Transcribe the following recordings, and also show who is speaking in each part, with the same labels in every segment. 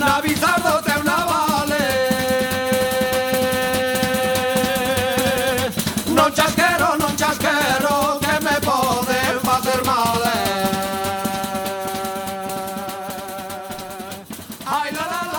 Speaker 1: Na bizardo te una vale Non chasquero, non chasquero Que me poden facer mal eh. Ai, la, la, la.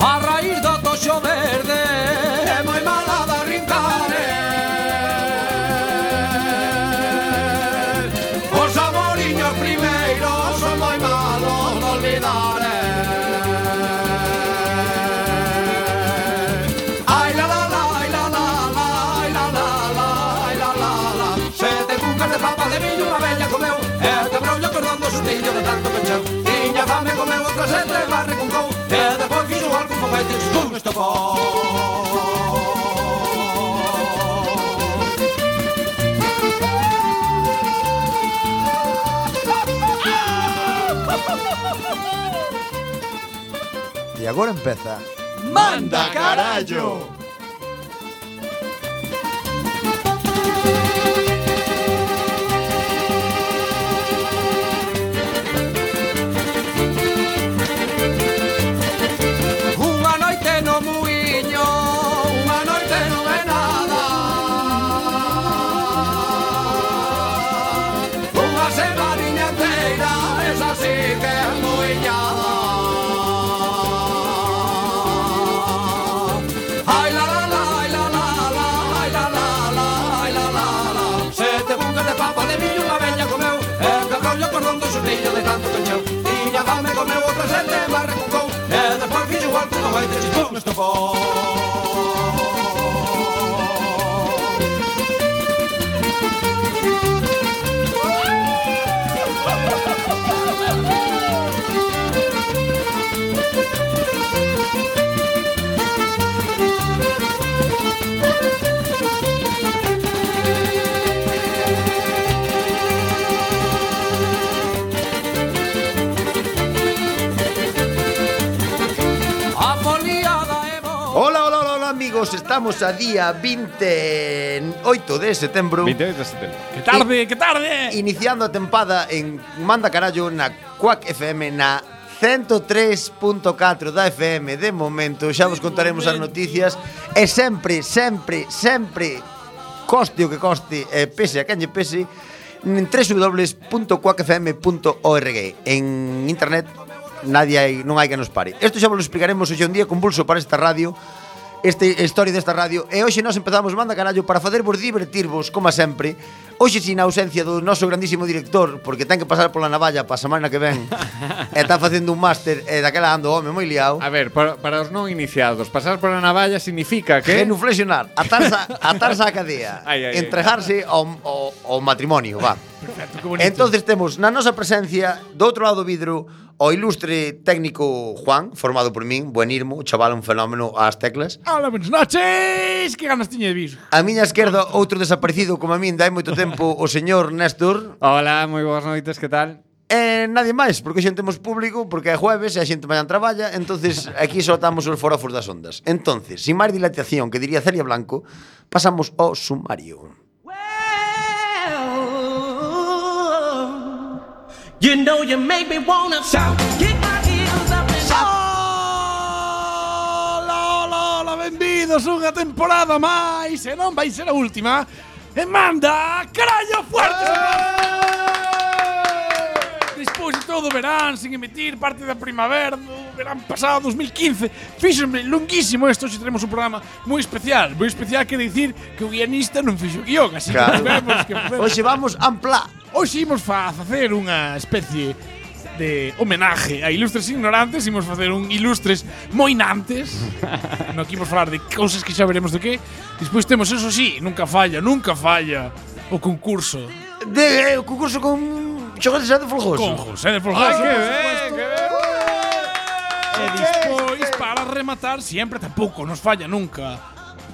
Speaker 1: A raíz do toxo verde É moi mala da rincare Os amoriños primeiros Son moi malos de olvidar eh. Ai la la la, ai la la la Ai la la la, ai la la la Sete cucas de papa de viño Unha bella comeu E te brollo cordando sustillo de tanto pecheu Tiña fame comeu outra sete Barre con cou E depois fixo algún foguete Pum, estopou
Speaker 2: E agora empeza
Speaker 1: Manda carallo. Unha noite no muiño, unha noite non é nada. Unha semaniña inteira, esa sí que é muiñada. Ai la la la, ai la la la, ai la la la, ai la la la. Sete bucas de papa de millo unha bella comeu, e que rollo cordón do xurrillo de tanto cancheu. Tiña fame comeu outra sete, mas recucou, e despois fixo igual que non vai ter xipón estofón. A foliada é boa.
Speaker 2: Hola, hola, hola, hola, amigos, estamos a día 28 de setembro
Speaker 3: 28 de setembro.
Speaker 4: Que tarde, que tarde.
Speaker 2: Iniciando a tempada en Manda Carallo na Quack FM na 103.4 da FM De momento xa vos contaremos as noticias E sempre, sempre, sempre Coste o que coste e pese a quen lle pese En www.quackfm.org En internet nadie hai, non hai que nos pare Isto xa vos lo explicaremos hoxe un día con pulso para esta radio este historia desta radio e hoxe nós empezamos Manda Carallo para facervos divertirvos, como sempre. Hoxe sin ausencia do noso grandísimo director, porque ten que pasar pola navalla para a semana que ven. e está facendo un máster e daquela ando home moi liado.
Speaker 3: A ver, para, para os non iniciados, pasar por a navalla significa que...
Speaker 2: Genuflexionar, atarse, atarse á cadea,
Speaker 3: Ai, ai, ai.
Speaker 2: entregarse ao, ao, ao matrimonio, va. Entonces temos na nosa presencia do outro lado do vidro o ilustre técnico Juan, formado por min, buenirmo, chaval un fenómeno ás teclas.
Speaker 4: Hola, buenas noches. Que ganas tiñe de vir.
Speaker 2: A miña esquerda, outro desaparecido como a min dai moito tempo, o señor Néstor.
Speaker 3: Hola, moi boas noites, que tal?
Speaker 2: E nadie máis, porque hoxe temos público, porque é jueves e a xente mañan traballa, entonces aquí só estamos os forófos das ondas. Entonces, sin máis dilatación, que diría Celia Blanco, pasamos ao sumario.
Speaker 1: You know you make me wanna shout. Kick my heels up and
Speaker 4: Hola, hola, hola, benvidos unha temporada máis e non vai ser a última. E manda carallo fuerte.
Speaker 3: ¡Eh!
Speaker 4: Despois de todo o verán, sin emitir parte da primavera, do verán pasado 2015 Fíxenme longuísimo esto Hoxe teremos un programa moi especial Moi especial que dicir que o guionista non fixo guión Así
Speaker 2: Claro.
Speaker 4: que vemos que
Speaker 2: Hoxe vamos amplá.
Speaker 4: Hoxe imos fa facer unha especie de homenaje a ilustres ignorantes Imos facer un ilustres moinantes No que imos falar de cousas que xa veremos do que Despois temos, eso sí, nunca falla, nunca falla O concurso
Speaker 2: De eh, o concurso con xoguetes de folgoso.
Speaker 4: con José de Folgoso
Speaker 3: ¡Ay, qué
Speaker 4: por
Speaker 3: bien,
Speaker 4: supuesto.
Speaker 3: qué bien!
Speaker 4: E despois, para rematar, siempre tampouco nos falla nunca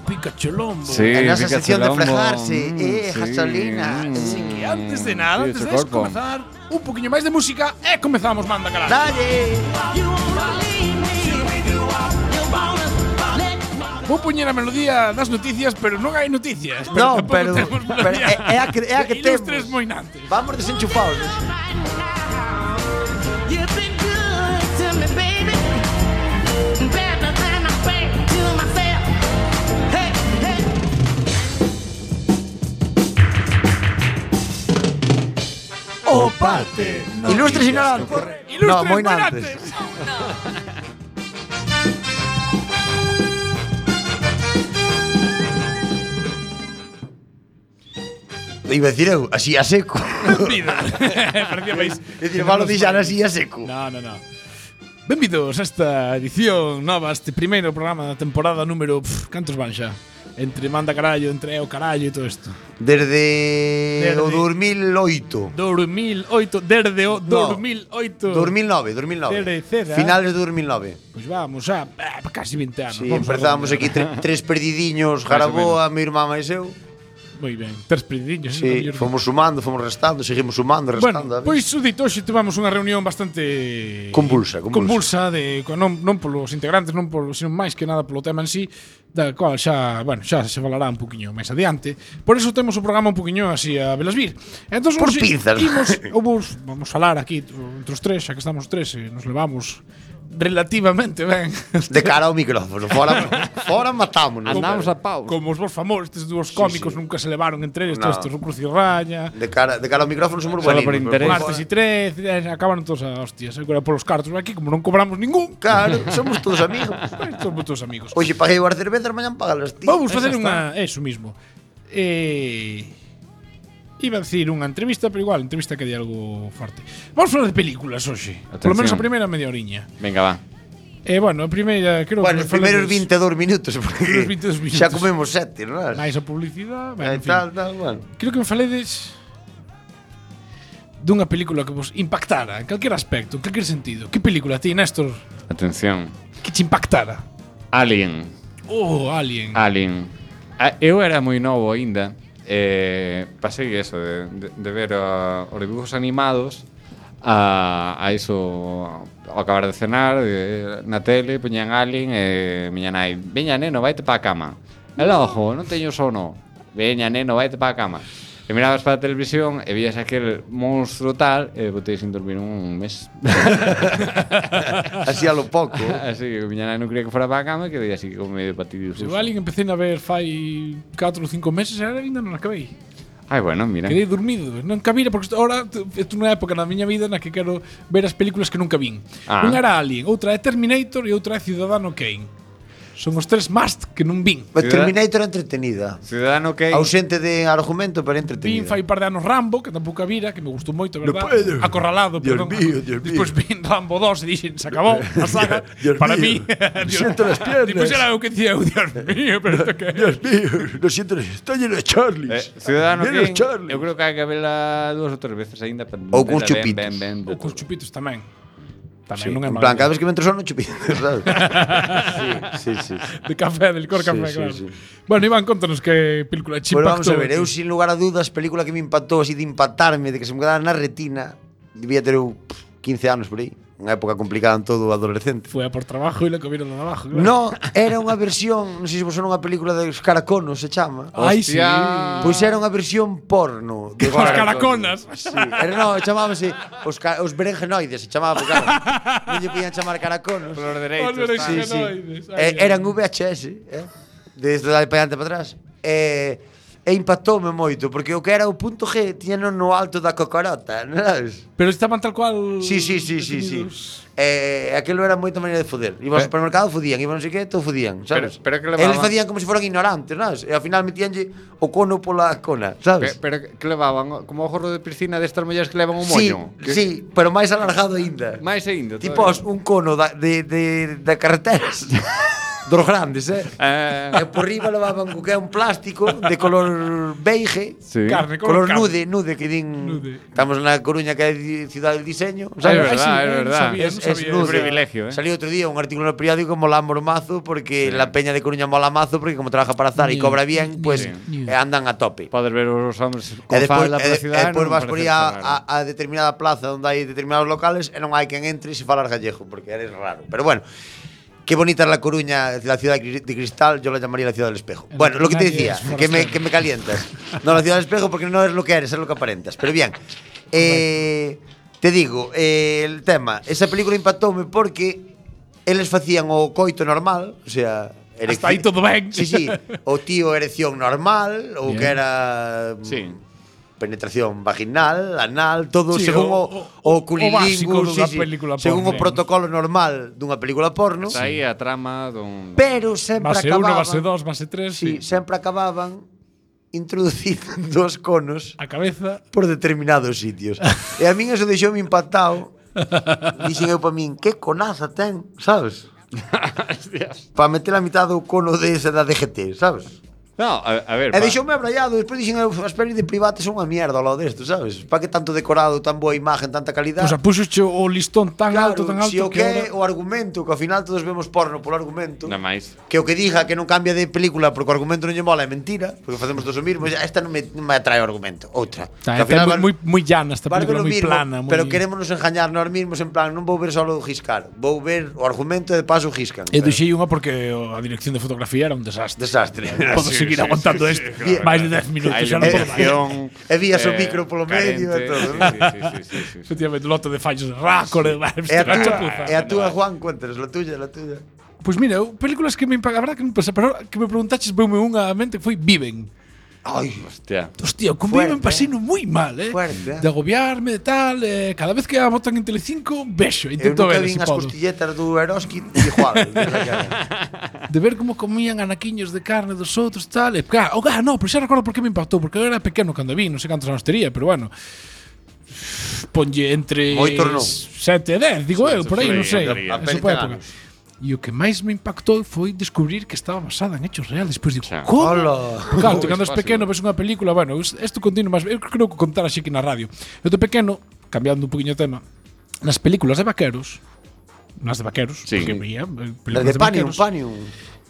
Speaker 4: Picacholombo
Speaker 3: Sí,
Speaker 2: En esa
Speaker 3: pica
Speaker 2: sección de
Speaker 3: chilombo.
Speaker 2: frejarse, eh,
Speaker 3: sí,
Speaker 2: gasolina.
Speaker 3: mm,
Speaker 2: Así
Speaker 4: E antes de nada,
Speaker 3: sí,
Speaker 4: antes
Speaker 3: ese
Speaker 4: de
Speaker 3: corpo.
Speaker 4: comenzar Un poquinho máis de música e comezamos Manda Caralho
Speaker 2: Dale.
Speaker 4: Vou poñer a melodía das noticias, pero non hai noticias.
Speaker 2: No,
Speaker 4: tampouco
Speaker 2: pero-
Speaker 4: temos
Speaker 2: pero
Speaker 4: melodía
Speaker 2: é- é a que- é a que
Speaker 4: de Ilustres
Speaker 2: temos.
Speaker 4: moinantes.
Speaker 2: Vamos desenchufados.
Speaker 5: You've been good to me, baby. Better than I've been to myself. Hey, hey.
Speaker 2: O parte. Ilustres ignorantes.
Speaker 4: Ilustres
Speaker 2: No, moi
Speaker 4: moinantes.
Speaker 2: nantes. Iba a decir eu, así a seco.
Speaker 4: Vida. Parecía máis.
Speaker 2: É dicir, malo dixar así a seco.
Speaker 4: No, no, no. Benvidos a esta edición nova, a este primeiro programa da temporada número... Pff, cantos van xa? Entre manda carallo, entre é o carallo e todo isto.
Speaker 2: Desde,
Speaker 4: Desde-
Speaker 2: o 2008.
Speaker 4: 2008, desde o
Speaker 2: No.
Speaker 4: 2008.
Speaker 2: 2009, 2009.
Speaker 4: Desde ¿eh? ceda.
Speaker 2: Finales de 2009.
Speaker 4: Pois vamos, xa, eh, casi 20 anos.
Speaker 2: Sí,
Speaker 4: vamos a
Speaker 2: empezamos
Speaker 4: redondear.
Speaker 2: aquí tre- tres perdidiños, Jaraboa, mi irmá máis eu.
Speaker 4: Moi ben, tres prendinhos.
Speaker 2: Sí, fomos sumando, fomos restando, seguimos sumando, restando.
Speaker 4: Bueno, pois dito hoxe tivemos unha reunión bastante
Speaker 2: Convulsa, convulsa.
Speaker 4: convulsa de co- non, non polos integrantes, non polo, sino máis que nada polo tema en sí, da cual xa, bueno, xa se falará un poquinho máis adiante. Por eso temos o programa un poquinho así a Velasvir. Entón
Speaker 2: Por
Speaker 4: hoxe
Speaker 2: pinzas.
Speaker 4: Imos, vamos, vamos falar aquí entre os tres, xa que estamos tres, e nos levamos relativamente ben.
Speaker 2: de cara ao micrófono, fora fora matámonos.
Speaker 3: Andamos a pau.
Speaker 4: Como os vos famosos, estes dúos
Speaker 2: sí.
Speaker 4: cómicos nunca se levaron entre eles,
Speaker 2: No.
Speaker 4: todos estes o Cruz e Raña,
Speaker 2: De cara de cara ao micrófono somos
Speaker 3: Solo
Speaker 2: buenos.
Speaker 3: por interés.
Speaker 4: Martes e 13, acabaron todos a hostias. Agora polos cartos aquí, como non cobramos ningún,
Speaker 2: Claro, somos todos amigos.
Speaker 4: pois somos todos amigos.
Speaker 2: Hoxe paguei as cervezas, mañá pagalas ti.
Speaker 4: Vamos facer unha... Eso mismo. Eh, iba a decir unha entrevista, pero igual, entrevista que di algo forte. Vamos falar de películas hoxe. Polo
Speaker 3: Atención.
Speaker 4: menos a primeira media oriña.
Speaker 3: Venga, va.
Speaker 4: Eh, bueno, a primeira, creo
Speaker 2: Bueno, os
Speaker 4: que...
Speaker 2: primeiros 22 minutos, porque
Speaker 4: Os 22 minutos.
Speaker 2: xa comemos sete, non? é?
Speaker 4: Mais a publicidade...
Speaker 2: Eh,
Speaker 4: Bueno, en fin.
Speaker 2: Tal, tal, bueno.
Speaker 4: Creo que me faledes dunha película que vos impactara en calquer aspecto, en calquer sentido. Que película ti, Néstor,
Speaker 3: Atención.
Speaker 4: que te impactara?
Speaker 3: Alien.
Speaker 4: Oh, Alien.
Speaker 3: Alien. Ah, Eu era moi novo aínda. Eh, pasei eso de, de, de ver a, os dibujos animados a, a iso ao acabar de cenar eh, na tele poñían Alien e miña nai veña neno, vaite pa a cama e logo, non teño sono veña neno, vaite pa a cama e mirabas para a televisión e vías aquel monstro tal e botei sin dormir un mes
Speaker 2: Así a lo pouco.
Speaker 3: así que miña nai non quería que fora para a cama que dei así como medio patido
Speaker 4: Se o Alien empecé a ver fai 4 ou 5 meses e ainda non acabei.
Speaker 3: ai bueno, mira
Speaker 4: Quedei dormido, non cabira porque isto- ahora t- estou nunha época na miña vida na que quero ver as películas que nunca vin.
Speaker 3: Ah.
Speaker 4: Unha era Alien, outra é Terminator e outra é Ciudadano Kane. Son os tres must que non vin.
Speaker 2: Pero Terminator é entretenida.
Speaker 3: Ciudadano Kane
Speaker 2: Ausente de argumento, pero
Speaker 4: Vin
Speaker 2: entretenida.
Speaker 4: fai par de anos Rambo, que tampouco a vira, que me gustou moito, verdad?
Speaker 2: puedo.
Speaker 4: Acorralado,
Speaker 2: Dios
Speaker 4: perdón.
Speaker 2: mío, Dios
Speaker 4: Despois vin Rambo 2 e dixen, se acabou a saga
Speaker 2: Dios
Speaker 4: para
Speaker 2: mío,
Speaker 4: mí.
Speaker 2: siento las piernas.
Speaker 4: Despois era o que dicía, eu, Dios mío, pero isto que é?"
Speaker 2: mío, lo siento, está lleno de Charlies.
Speaker 3: Eh, Ciudadano
Speaker 2: Viene
Speaker 3: Kane,
Speaker 2: o Charlie.
Speaker 3: eu creo que hai que vela dúas ou tres veces aínda para
Speaker 2: Ou cuns
Speaker 3: entender
Speaker 2: chupitos.
Speaker 3: Ben, ben, ben, de
Speaker 4: Ou cos
Speaker 3: todo.
Speaker 4: chupitos tamén. Tamén
Speaker 2: Sí,
Speaker 4: non é
Speaker 2: en
Speaker 4: malo.
Speaker 2: plan, cada vez que me entro sono, chupito, ¿sabes? sí, sí, sí.
Speaker 4: De café, del cor
Speaker 2: Sí,
Speaker 4: café,
Speaker 2: sí,
Speaker 4: claro.
Speaker 2: sí.
Speaker 4: Bueno, Iván, contanos que película chip
Speaker 2: Bueno, vamos a ver, eu sin lugar a dudas, película que me impactou así de impactarme, de que se me quedara na retina, debía ter eu pff, 15 anos por aí, unha época complicada en todo o adolescente.
Speaker 4: Fue a por trabajo y la comieron de abajo. claro.
Speaker 2: No, era unha versión, non sei se vos son unha película de Os Caraconos, se chama.
Speaker 4: Ay, sí.
Speaker 3: Hostia.
Speaker 2: Pois era unha versión porno. De
Speaker 4: Os caraconas.
Speaker 2: Sí, era, no, chamábase os, ca- os berenjenoides, se chamaba, porque claro, non lle podían chamar caraconos.
Speaker 3: Por dereitos,
Speaker 4: Os dereitos.
Speaker 3: tal.
Speaker 2: sí, sí.
Speaker 4: Canoides, ahí,
Speaker 2: Eh,
Speaker 4: ahí.
Speaker 2: eran VHS, eh? Desde la de para adelante para atrás. Eh, e impactoume moito, porque o que era o punto G tiñano no alto da cocorota, non sabes?
Speaker 4: Pero estaban tal cual.
Speaker 2: Sí, sí, sí, sí, sí.
Speaker 4: definidos.
Speaker 2: Eh, aquilo era moita maneira de foder. Iba ao
Speaker 3: Pero-
Speaker 2: supermercado, fodían, iba non sei que, todo fodían, sabes?
Speaker 3: Pero- pero que levaba-
Speaker 2: Eles facían como se foran ignorantes, sabes? E ao final metíanlle o cono pola cona, sabes?
Speaker 3: Pe- Pero, que levaban como o gorro de piscina destas mulleres que levan un
Speaker 2: sí,
Speaker 3: moño. que-
Speaker 2: sí, pero máis alargado aínda.
Speaker 3: Máis aínda.
Speaker 2: Tipo
Speaker 3: todavía.
Speaker 2: un cono da, de, de, da carreteras dos grandes, eh?
Speaker 3: Eh,
Speaker 2: E por riba levaban co que é un plástico de color beige,
Speaker 3: sí.
Speaker 4: Carne,
Speaker 2: color
Speaker 4: carne.
Speaker 2: nude, nude que din.
Speaker 4: Nude.
Speaker 2: Estamos na Coruña que é di- cidade del diseño,
Speaker 3: É
Speaker 2: sabes?
Speaker 3: verdad,
Speaker 4: Ay, sí,
Speaker 3: Ah, é
Speaker 4: no
Speaker 3: verdad.
Speaker 4: sabía,
Speaker 2: Es,
Speaker 4: no
Speaker 2: es
Speaker 4: sabía.
Speaker 2: nude.
Speaker 3: privilegio, eh.
Speaker 2: Salió otro día un artículo en el periódico mola mazo porque
Speaker 3: Sí.
Speaker 2: la peña de Coruña mola mazo porque como trabaja para Zara y cobra bien, pues
Speaker 4: Sí.
Speaker 2: eh, andan a tope.
Speaker 3: Podes ver os hombres con
Speaker 2: E despois,
Speaker 3: falda pola
Speaker 2: e,
Speaker 3: cidade.
Speaker 2: e despois
Speaker 3: non
Speaker 2: vas
Speaker 3: me
Speaker 2: por
Speaker 3: parece
Speaker 2: aí a,
Speaker 3: raro.
Speaker 2: a, a determinada plaza onde hai determinados locales e non hai quen entre e se falar gallego porque eres raro. Pero bueno, qué bonita es la Coruña, la ciudad de cri- de cristal, yo la llamaría la ciudad del espejo.
Speaker 4: En
Speaker 2: bueno,
Speaker 4: la
Speaker 2: lo que te
Speaker 4: calle
Speaker 2: decía,
Speaker 4: es Forrest
Speaker 2: que me,
Speaker 4: Gump.
Speaker 2: que me calientas. No, la ciudad del espejo porque no es lo que eres, es lo que aparentas. Pero bien, eh, te digo, eh, el tema, esa película impactoume porque eles facían o coito normal, o sea...
Speaker 4: Hasta aí todo ben.
Speaker 2: Sí, sí. O tío erección normal, o
Speaker 4: Bien.
Speaker 2: que era... mm,
Speaker 3: Sí.
Speaker 2: penetración vaginal, anal, todo
Speaker 4: Sí,
Speaker 2: según o,
Speaker 4: o- o-
Speaker 2: o,
Speaker 4: o
Speaker 2: o
Speaker 4: básico
Speaker 2: culilingus,
Speaker 4: dunha película
Speaker 2: según
Speaker 4: porno.
Speaker 2: o protocolo normal dunha película porno,
Speaker 3: Está aí a trama dun...
Speaker 2: pero sempre
Speaker 4: Base 1,
Speaker 2: acababan,
Speaker 4: base 2, base 3.
Speaker 2: sí, sempre acababan introducindo os conos
Speaker 4: A cabeza.
Speaker 2: por determinados sitios. e a min eso deixoume impactado. Dixen eu para min, que conaza ten, sabes? para meter a mitad do cono de esa da DGT, sabes?
Speaker 3: No, a, a ver,
Speaker 2: E
Speaker 3: pa-
Speaker 2: deixoume abrallado, despois dixen eu, as pelis de privates son unha mierda ao lado desto, sabes? Pa que tanto decorado, tan boa imagen, tanta calidad.
Speaker 4: O sea, puxoche o listón tan
Speaker 2: claro,
Speaker 4: Pois alto, tan alto
Speaker 2: si o
Speaker 4: que
Speaker 2: que é
Speaker 4: ahora...
Speaker 2: o argumento, que ao final todos vemos porno polo argumento.
Speaker 3: na máis.
Speaker 2: Que o que diga que non cambia de película porque o argumento non lle mola é mentira, porque facemos todos o mismo,
Speaker 4: Mm.
Speaker 2: e esta non me, non me atrae o argumento, outra.
Speaker 4: Está,
Speaker 2: Que ao final vas-
Speaker 4: está Ah, moi, moi llana esta
Speaker 2: vas ver
Speaker 4: película,
Speaker 2: o
Speaker 4: moi
Speaker 2: mismo,
Speaker 4: plana. Muy...
Speaker 2: Pero queremos nos engañar nós mismos en plan, non vou ver só o giscar, vou ver o argumento e de paso giscan.
Speaker 4: Eu deixei unha Eh, porque o- a dirección de fotografía era un desastre.
Speaker 2: Desastre.
Speaker 4: Podo
Speaker 3: Sí,
Speaker 4: seguir
Speaker 3: sí,
Speaker 4: aguantando
Speaker 3: sí,
Speaker 4: isto
Speaker 3: sí, claro,
Speaker 4: máis de
Speaker 3: claro.
Speaker 4: 10 minutos,
Speaker 3: A
Speaker 4: xa non podo máis.
Speaker 3: iluminación,
Speaker 2: E vías o micro polo medio e
Speaker 3: carente,
Speaker 2: todo,
Speaker 3: sí,
Speaker 2: non?
Speaker 3: Sí, sí, sí, sí, sí.
Speaker 4: Efectivamente, lote de fallos de rácole,
Speaker 2: E a túa,
Speaker 4: Ah,
Speaker 2: e a túa
Speaker 4: eh.
Speaker 3: no.
Speaker 2: Juan, cuéntanos, la tuya, la tuya.
Speaker 4: Pois mira, eu- películas que me impacta, a verdad que non pensaba, pero ahora que me preguntaches veume unha a mente que foi Viven.
Speaker 2: Ai,
Speaker 3: Hostia.
Speaker 4: Hostia, con Viven
Speaker 2: Fuerte,
Speaker 4: pasino moi mal, eh.
Speaker 2: Fuerte, eh.
Speaker 4: De agobiarme, de tal, eh, cada vez que a botan en Telecinco, vexo,
Speaker 2: eu
Speaker 4: intento
Speaker 2: nunca
Speaker 4: ver, se
Speaker 2: vin as
Speaker 4: podo.
Speaker 2: costilletas do Eroski de Juan.
Speaker 4: De ver como comían anaquiños de carne dos outros, tal, e claro, oh, ah, no, pero xa recordo por que me impactou, porque eu era pequeno cando a vi, non sei cantos anos tería, pero bueno. Ponlle entre
Speaker 2: Moitos non.
Speaker 4: 7 e 10, digo eu, por aí, non sei.
Speaker 3: teoría.
Speaker 4: Esa foi a época. E o que máis me impactou foi descubrir que estaba basada en hechos reales. Despois digo,
Speaker 3: Xa.
Speaker 4: como?
Speaker 2: Hola.
Speaker 4: Claro,
Speaker 3: Pois
Speaker 4: tú cando es
Speaker 3: fácil.
Speaker 4: pequeno ves unha película, bueno, us- isto continuo máis, eu creo que contar así que na radio. Eu de pequeno, cambiando un poquinho o tema, nas películas de vaqueros, nas de vaqueros,
Speaker 3: Sí.
Speaker 4: porque veía eh,
Speaker 2: Las
Speaker 4: películas
Speaker 2: de Panium,
Speaker 4: vaqueros,
Speaker 2: Panium.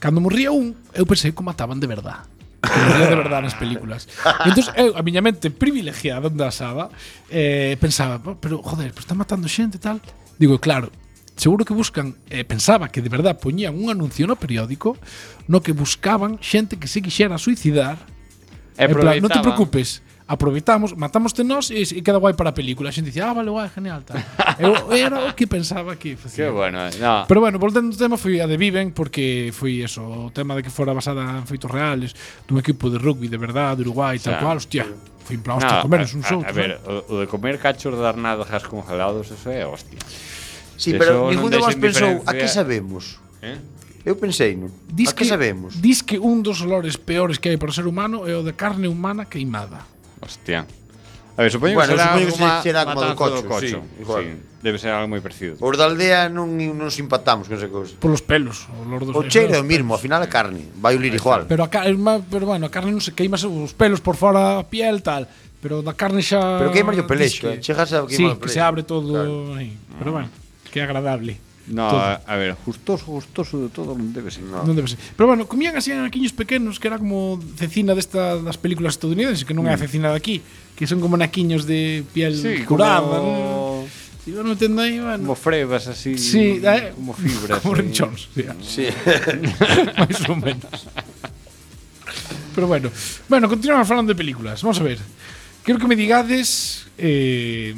Speaker 4: Cando morría un, eu pensei que o mataban de verdad. Que morría de verdad nas películas. E entón, eu, a miña mente privilegiada onde asaba, eh, pensaba, "Pá, pero, joder, pues está matando xente e tal. Digo, claro, seguro que buscan, eh, pensaba que de verdad poñían un anuncio no periódico no que buscaban xente que se quixera suicidar
Speaker 3: E
Speaker 4: en plan, non te
Speaker 3: aproveitaban.
Speaker 4: preocupes, aproveitamos, matamos nós e, e queda guai para a película. A xente dice, ah, vale, guai, genial, tal. Eu, era o que pensaba que
Speaker 3: Qué
Speaker 4: facía.
Speaker 3: bueno, eh. No.
Speaker 4: Pero bueno, voltando ao tema, foi a de Viven porque foi eso, o tema de que fora basada en feitos reales, dun equipo de rugby de verdade, de Uruguai, tal
Speaker 3: Xa.
Speaker 4: cual, hostia, foi en plan,
Speaker 3: No,
Speaker 4: hostia, comernos uns
Speaker 3: a, a,
Speaker 4: outros.
Speaker 3: a ver, o, o de comer cachos de arnadas congelados, eso é hostia.
Speaker 2: Sí,
Speaker 3: Eso
Speaker 2: pero
Speaker 3: non
Speaker 2: ningún de vós
Speaker 3: deixa
Speaker 2: pensou, a
Speaker 3: indiferencia.
Speaker 2: que sabemos?
Speaker 3: Eh?
Speaker 2: Eu pensei, non? A que sabemos?
Speaker 4: Dis que un dos olores peores que hai para o ser humano é o de carne humana queimada.
Speaker 3: Hostia. A ver, supoño
Speaker 2: Bueno,
Speaker 3: que será
Speaker 2: supoño que
Speaker 3: alguma
Speaker 2: será como do
Speaker 3: matanza
Speaker 2: cocho, sí, igual.
Speaker 3: Debe ser algo moi parecido.
Speaker 2: Os da aldea non, non nos impactamos con esa cousa.
Speaker 4: Polos pelos, o olor dos
Speaker 2: O cheiro é o mesmo, ao final a carne. Vai ulir igual.
Speaker 4: Pero a carne, pero bueno, a carne non se queima os pelos por fora a piel tal, pero da carne xa
Speaker 2: Pero queimas o
Speaker 4: dis
Speaker 2: pelexo, eh,
Speaker 4: que-
Speaker 2: chegas a
Speaker 4: Sí,
Speaker 2: queimar o
Speaker 4: que
Speaker 2: pelexo.
Speaker 4: se abre todo,
Speaker 2: Claro.
Speaker 4: aí, pero bueno, que agradable.
Speaker 3: No,
Speaker 4: Todo.
Speaker 3: a, a ver, justoso, justoso de todo non debe ser.
Speaker 4: Non debe ser. Pero bueno, comían así anaquiños pequenos que era como cecina desta das películas estadounidenses, que non é a cecina de aquí, que son como naquiños de piel
Speaker 3: Sí,
Speaker 4: curada.
Speaker 3: como,
Speaker 4: non? Si vos non tendo aí, bueno.
Speaker 3: como frebas así,
Speaker 4: Sí, eh,
Speaker 3: como fibras.
Speaker 4: como
Speaker 3: ahí.
Speaker 4: rinchóns, sí,
Speaker 2: Sí.
Speaker 4: máis ou menos. Pero bueno, bueno, continuamos falando de películas. Vamos a ver. Quero que me digades eh,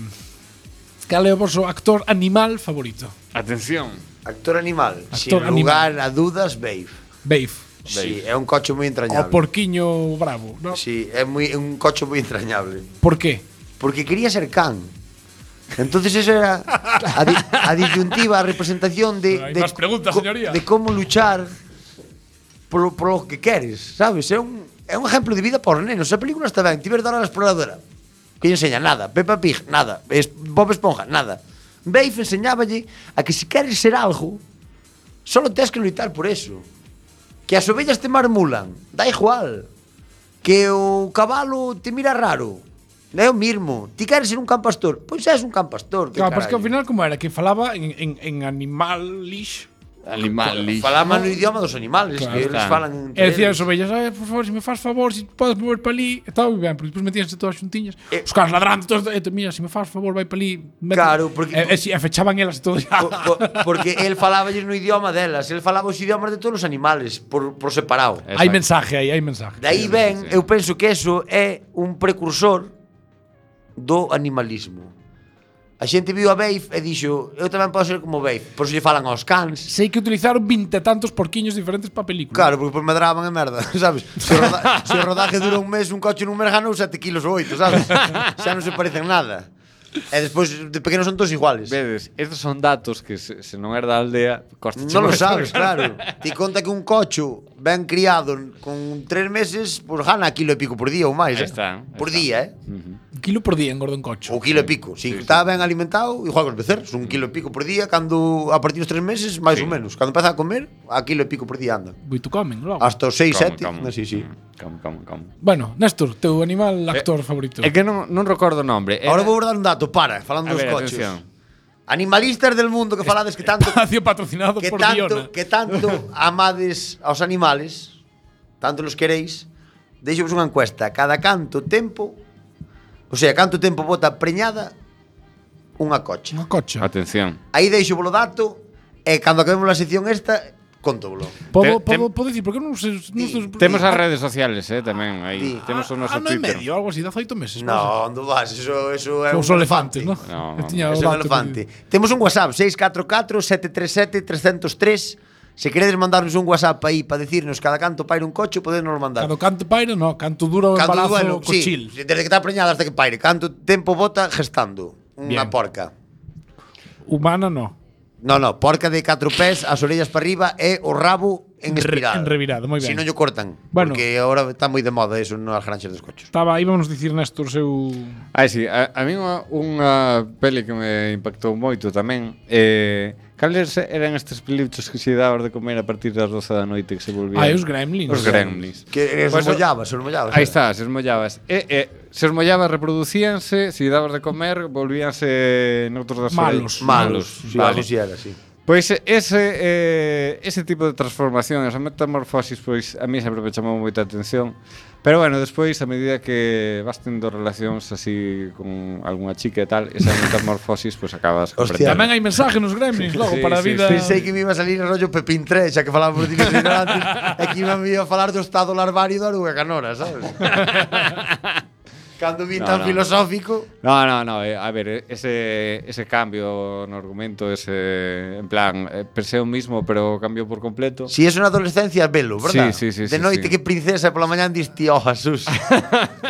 Speaker 4: cal é o vosso actor animal favorito.
Speaker 3: Atención.
Speaker 2: Actor animal.
Speaker 4: Actor
Speaker 2: Sin
Speaker 4: animal.
Speaker 2: lugar a dudas, Babe.
Speaker 4: Babe.
Speaker 2: Sí, é un coche moi
Speaker 4: O
Speaker 2: entrañable.
Speaker 4: porquiño bravo, ¿no?
Speaker 2: Sí, é moi é un coche moi entrañable.
Speaker 4: ¿Por qué?
Speaker 2: Porque quería ser can. Entonces eso era a, di- a disyuntiva, a representación de,
Speaker 4: Pero hay
Speaker 2: de
Speaker 4: más preguntas,
Speaker 2: co-
Speaker 4: señoría.
Speaker 2: de cómo luchar por lo, por lo que queres, sabes? É un, é un ejemplo de vida por nenos. Esa película está ben. Tiver Dora la exploradora. Que lle enseña nada. Peppa Pig, nada. Es, Bob Esponja, nada. Beif enseñáballe a que se queres ser algo, solo tens que luitar por eso. Que as ovellas te marmulan, da igual. Que o cabalo te mira raro, é o mismo. Ti queres ser un can pastor, pois és un can pastor. Que
Speaker 4: Claro, pero pues es que
Speaker 2: carallo.
Speaker 4: al final, ¿cómo era? Que falaba en, en, en animalish.
Speaker 3: Animal
Speaker 2: Falaban no idioma dos animales,
Speaker 4: Claro,
Speaker 2: que eles
Speaker 3: claro.
Speaker 2: falan entre
Speaker 4: E decía
Speaker 2: eles.
Speaker 4: as ovellas, "Ai, por favor, se me faz favor, se podes mover para ali, e tal, e ben, pero despois metíanse todas xuntiñas,
Speaker 2: Eh,
Speaker 4: os caras ladrando, todos, e, mira, se me faz favor, vai para ali. mete-".
Speaker 2: Claro, porque- Oh,
Speaker 4: E, e, si- e fechaban elas todo ya.
Speaker 2: Po- po- Porque el falaba no idioma delas, el falaba os idiomas de todos os animales por, por separado.
Speaker 4: Hai mensaje aí, hai mensaje.
Speaker 2: De aí
Speaker 3: Sí,
Speaker 2: ven,
Speaker 3: sí, sí.
Speaker 2: eu penso que eso é un precursor do animalismo. A xente viu a Beif e dixo, eu tamén podo ser como Beif, por se lle falan aos cans.
Speaker 4: Sei que utilizaron vinte e tantos porquiños diferentes para película.
Speaker 2: Claro, porque por medraban e merda, sabes? Se o, roda, se o rodaje dura un mes, un coche nun mes ganou 7 kilos ou 8, sabes? Xa non se parecen nada. E despois, de pequenos son todos iguales.
Speaker 3: Vedes, estos son datos que se, se non era da aldea, costa
Speaker 2: Non lo sabes, claro. Ti conta que un cocho ben criado con tres meses, pois pues, gana kilo e pico por día ou máis,
Speaker 3: Aí
Speaker 2: eh?
Speaker 3: está, aí
Speaker 2: Por
Speaker 3: está.
Speaker 2: día, eh?
Speaker 4: Un kilo por día engorda un cocho.
Speaker 2: O kilo e pico. Si sí, está ben alimentado, igual que os becerros, un kilo e pico por día, cando a partir dos tres meses, máis ou menos. Cando empeza a comer, a kilo e pico por día anda.
Speaker 4: Boi tu comen, logo.
Speaker 2: Hasta os seis,
Speaker 3: Como,
Speaker 2: sete,
Speaker 3: como.
Speaker 2: non sei, sí.
Speaker 3: Como, como, como.
Speaker 4: Bueno, Néstor, teu
Speaker 2: Eh,
Speaker 4: animal actor favorito.
Speaker 3: É que non, non recordo o nombre.
Speaker 2: Ahora vou dar un dato, para, falando
Speaker 3: Eh, A
Speaker 2: dos
Speaker 3: ver,
Speaker 2: coches.
Speaker 3: atención.
Speaker 2: Animalistas del mundo que falades que tanto
Speaker 4: Espacio patrocinado
Speaker 2: que
Speaker 4: por Diona.
Speaker 2: tanto, que tanto amades aos animales, tanto los queréis, deixo vos unha encuesta. Cada canto tempo, o sea, canto tempo bota preñada unha cocha.
Speaker 4: Unha cocha.
Speaker 3: Atención.
Speaker 2: Aí deixo volo dato e cando acabemos a sección esta, conto volo.
Speaker 4: Podo,
Speaker 3: Te-
Speaker 4: podo, podo dicir, por que non se... Non se
Speaker 3: Temos as redes sociales, eh, tamén aí.
Speaker 2: Sí.
Speaker 3: Temos
Speaker 2: ah,
Speaker 3: o noso
Speaker 4: ano e
Speaker 3: Twitter.
Speaker 4: medio, algo así, 18 meses. pode ser.
Speaker 2: No, onde vas? Eso, eso é
Speaker 4: Os elefantes, Este non?
Speaker 3: No,
Speaker 4: Eu tiña
Speaker 2: Eso é un
Speaker 4: o dato
Speaker 2: elefante. Temos un WhatsApp, 644-737-303. Se queredes mandarnos un WhatsApp aí para decirnos cada canto paira un coche, podedenoslo mandar.
Speaker 4: Cando canto pairo, no, canto dura o
Speaker 2: Canto
Speaker 4: embarazo
Speaker 2: duelo,
Speaker 4: co
Speaker 2: sí,
Speaker 4: chill.
Speaker 2: desde que está preñada hasta que paire. Canto tempo bota gestando unha
Speaker 4: Bien.
Speaker 2: porca.
Speaker 4: Humana no.
Speaker 2: No, no, porca de catro pés, as orellas para arriba e o rabo en
Speaker 4: Re-
Speaker 2: espiral.
Speaker 4: en revirado, moi ben.
Speaker 2: Si non lle cortan,
Speaker 4: Bueno.
Speaker 2: porque ahora está moi de moda eso nas granxas dos cochos.
Speaker 4: Estaba, íbamos dicir Néstor seu...
Speaker 3: Ai, Ah, sí, a, a mí unha, unha peli que me impactou moito tamén eh, Cales eran estes peluchos que se daban de comer a partir das 12 da noite que se volvían?
Speaker 4: Ah, e os gremlins.
Speaker 3: Os gremlins.
Speaker 2: Que os
Speaker 3: Pois o-
Speaker 2: mollabas, os mollabas.
Speaker 3: Aí está, se esmollabas. E, e, se esmollabas reproducíanse, se dabas de comer, volvíanse noutros das
Speaker 4: Malos.
Speaker 2: Malos, sí, vale.
Speaker 3: vale.
Speaker 2: si era, sí.
Speaker 3: Pois Pues ese eh, ese tipo de transformación, esa metamorfosis, pois a mí sempre me chamou moita atención. Pero bueno, despois a medida que vas tendo relacións así con algunha chica e tal, esa metamorfosis pois acabas
Speaker 2: Hostia.
Speaker 4: Tamén hai mensaje nos gremlins, logo,
Speaker 3: Sí,
Speaker 4: para a
Speaker 3: sí,
Speaker 4: vida...
Speaker 2: Pensei que me iba a salir el rollo Pepín 3, xa que falábamos de dinos antes, e que me iba a falar do estado larvario da oruga canora, sabes? Cando vi
Speaker 3: No,
Speaker 2: tan
Speaker 3: no.
Speaker 2: filosófico...
Speaker 3: No, no, no, eh, a ver, eh, ese, ese cambio no argumento, ese, en plan, eh, pensé o mismo, pero cambió por completo.
Speaker 2: Si es una adolescencia, velo, ¿verdad?
Speaker 3: Sí, sí, sí,
Speaker 2: De
Speaker 3: sí,
Speaker 2: noite
Speaker 3: sí.
Speaker 2: que princesa e pola mañán dis tío Jesús.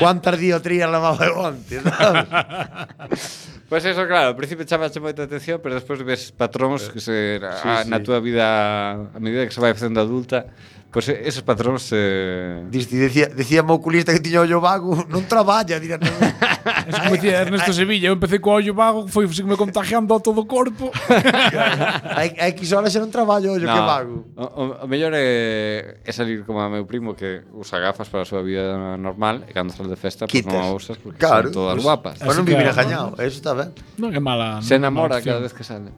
Speaker 2: Cuántas diotrías lavaba eu onte, sabes?
Speaker 3: Pois eso, claro, ao principio chamache moita atención, pero despois ves patróns que se
Speaker 2: Eh,
Speaker 3: a,
Speaker 2: sí.
Speaker 3: na túa vida a medida que se vai facendo adulta, pois eh, esos patróns eh,
Speaker 2: Dis, ti decía, decía mo oculista que tiña ollo vago, non traballa, dirá. "Non".
Speaker 4: Es como decía Ernesto Sevilla, eu empecé co ollo vago, foi se me contagiando a todo o corpo.
Speaker 2: A, a X horas xa non traballo, ollo que vago.
Speaker 3: O, o, o mellor é, é salir como a meu primo que usa gafas para a súa vida normal e cando sal de festa pois non
Speaker 2: Quitas.
Speaker 3: a usas porque
Speaker 2: Claro,
Speaker 3: son todas
Speaker 2: pues, eh,
Speaker 3: guapas.
Speaker 2: Para non
Speaker 4: Así que-
Speaker 2: vivir engañado, eso está ben.
Speaker 4: non é mala.
Speaker 3: Se
Speaker 4: non é
Speaker 3: enamora
Speaker 4: mala opción.
Speaker 3: cada vez que sale.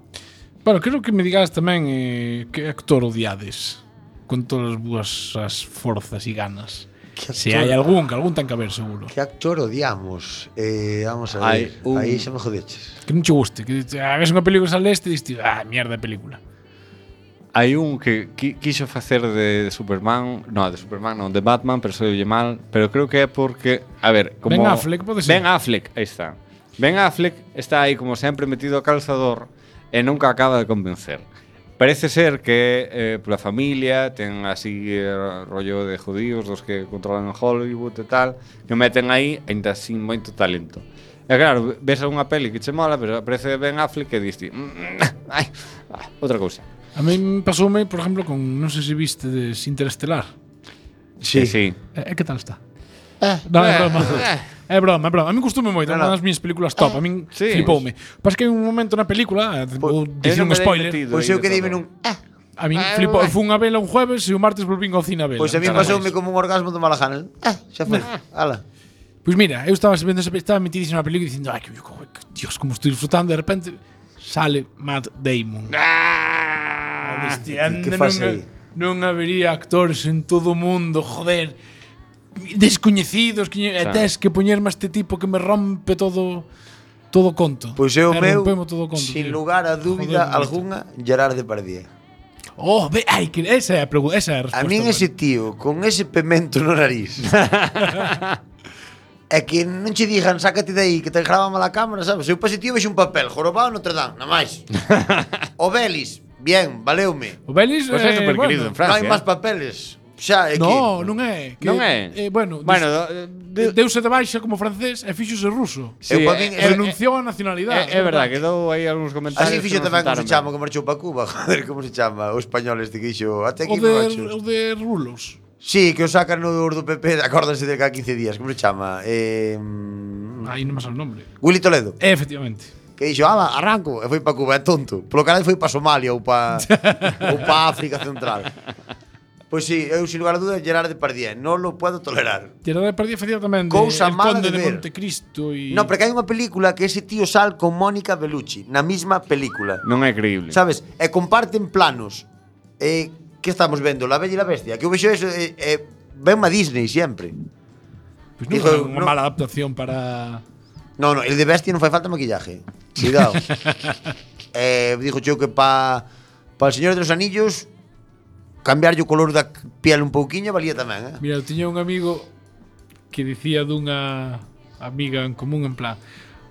Speaker 4: Bueno, quero que me digas tamén eh, que actor odiades con todas as vosas forzas e ganas. Se
Speaker 2: actor?
Speaker 4: hai algún, que algún ten que haber seguro.
Speaker 2: Que actor odiamos? Eh, vamos a
Speaker 3: Hai
Speaker 2: ver.
Speaker 3: un-
Speaker 2: Aí xa me jodeches.
Speaker 4: Que non che guste, que te- hagas unha película que sale este e diste, ah, mierda de película.
Speaker 3: Hai un que qui- quixo facer de Superman, no, de Superman, non, de Batman, pero soy mal, pero creo que é porque, a ver, como
Speaker 4: Ben Affleck pode ser.
Speaker 3: Ben Affleck, aí está. Ben Affleck está aí como sempre metido a calzador e nunca acaba de convencer. Parece ser que eh, pola familia ten así eh, rollo de judíos dos que controlan Hollywood e tal, que meten aí ainda así moito talento. E claro, ves unha peli que che mola, pero aparece Ben Affleck e diste, mm, ai, ah, outra cousa.
Speaker 4: A mí pasoume, por exemplo, con non sei se viste de Interestelar.
Speaker 3: Sí, sí.
Speaker 4: E, e que tal está? Eh, non, é
Speaker 3: eh,
Speaker 4: broma. É broma, é broma. A mí costume moito, é
Speaker 2: No, Ah, no.
Speaker 4: unha das miñas películas top. A min
Speaker 3: Sí.
Speaker 4: flipoume. Pas que hai un momento na película, eh, vou dicir un spoiler,
Speaker 2: Pois eu que dime nun...
Speaker 4: a min
Speaker 2: Ah,
Speaker 4: flipou, fun a vela un jueves e o martes volvín ao cine a vela.
Speaker 2: Pois a mí
Speaker 4: Nada máis.
Speaker 2: pasoume como un orgasmo do Malajana. Ah, xa foi. Ala.
Speaker 4: Pois mira, eu estaba vendo esa, estaba metidísimo na película dicindo, ai, que, que, que Dios, como estou disfrutando, de repente sale Matt Damon. Ah,
Speaker 2: que faz aí?
Speaker 4: Non habería actores en todo o mundo, joder. Descoñecidos, que e
Speaker 3: Xa.
Speaker 4: tes que poñerme a este tipo que me rompe todo todo o conto.
Speaker 2: Pois eu
Speaker 4: E
Speaker 2: meu,
Speaker 4: rompemo todo o conto,
Speaker 2: sin
Speaker 4: tío.
Speaker 2: lugar a dúbida
Speaker 4: Joder, macho.
Speaker 2: algunha, Gerard Depardieu.
Speaker 4: Oh, ve, ai, que esa é a pregunta, esa é a
Speaker 2: A
Speaker 4: resposta.
Speaker 2: min ese tío, con ese pemento no nariz, é que non che digan, sácate de aí, que te grava mal a cámara, sabes? Eu pa ese tío vexo un papel, jorobado Notre Dame, na máis. o Belis, bien, valeume.
Speaker 4: O Belis
Speaker 3: Pois é
Speaker 4: eh,
Speaker 3: super querido
Speaker 4: bueno.
Speaker 3: en
Speaker 2: Non hai
Speaker 3: Francia.
Speaker 2: máis papeles. Xa, é
Speaker 4: No,
Speaker 2: que...
Speaker 4: non é. Que,
Speaker 3: Non é.
Speaker 4: Eh, bueno,
Speaker 3: bueno, do- de-
Speaker 4: dis- deuse de baixa como francés e fíxose ruso.
Speaker 3: sí,
Speaker 2: eu
Speaker 3: eh,
Speaker 2: pa
Speaker 3: é-
Speaker 2: min-
Speaker 3: é-
Speaker 4: Renunciou á nacionalidade.
Speaker 2: eh,
Speaker 3: É, é eh, verdad, quedou aí algúns comentarios.
Speaker 2: Así fixo
Speaker 3: que non
Speaker 2: tamén como se
Speaker 3: soltaron
Speaker 2: chama,
Speaker 3: ben.
Speaker 2: que marchou pa Cuba, joder, como se chama, o español este que dixo, até
Speaker 4: O
Speaker 2: aquí non
Speaker 4: de, o
Speaker 2: acho.
Speaker 4: de Rulos.
Speaker 2: Sí, que o sacan no do PP, acórdanse de cá 15 días, como se chama? Eh, mm,
Speaker 4: Aí non me sale o nombre.
Speaker 2: Willy Toledo.
Speaker 4: É, efectivamente.
Speaker 2: que dixo, ala, arranco, e foi pa Cuba, é tonto. Polo canal foi pa Somalia ou pa, ou pa África Central. Pois si, sí, eu sin lugar a dúdas Gerard Depardieu, non lo podo tolerar.
Speaker 4: Tirada de partida facía tamén de
Speaker 2: Cousa
Speaker 4: El
Speaker 2: mala
Speaker 4: Conde
Speaker 2: de
Speaker 4: de,
Speaker 2: ver.
Speaker 4: Montecristo e
Speaker 2: No, porque hai unha película que ese tío sal con Mónica Bellucci, na mesma película.
Speaker 3: Non é creíble.
Speaker 2: Sabes? E comparten planos. E que estamos vendo? La Bella e la Bestia. Que eu vexo eso e, e ven a Disney sempre.
Speaker 4: Pois non
Speaker 2: Dijo,
Speaker 4: era unha
Speaker 2: no.
Speaker 4: mala adaptación para
Speaker 2: No, no, el de Bestia non fai falta maquillaje. Cuidado. eh, dijo yo que pa pa el Señor de los Anillos cambiarlle o color da piel un pouquiño valía tamén, eh?
Speaker 4: Mira, eu tiña un amigo que dicía dunha amiga en común en plan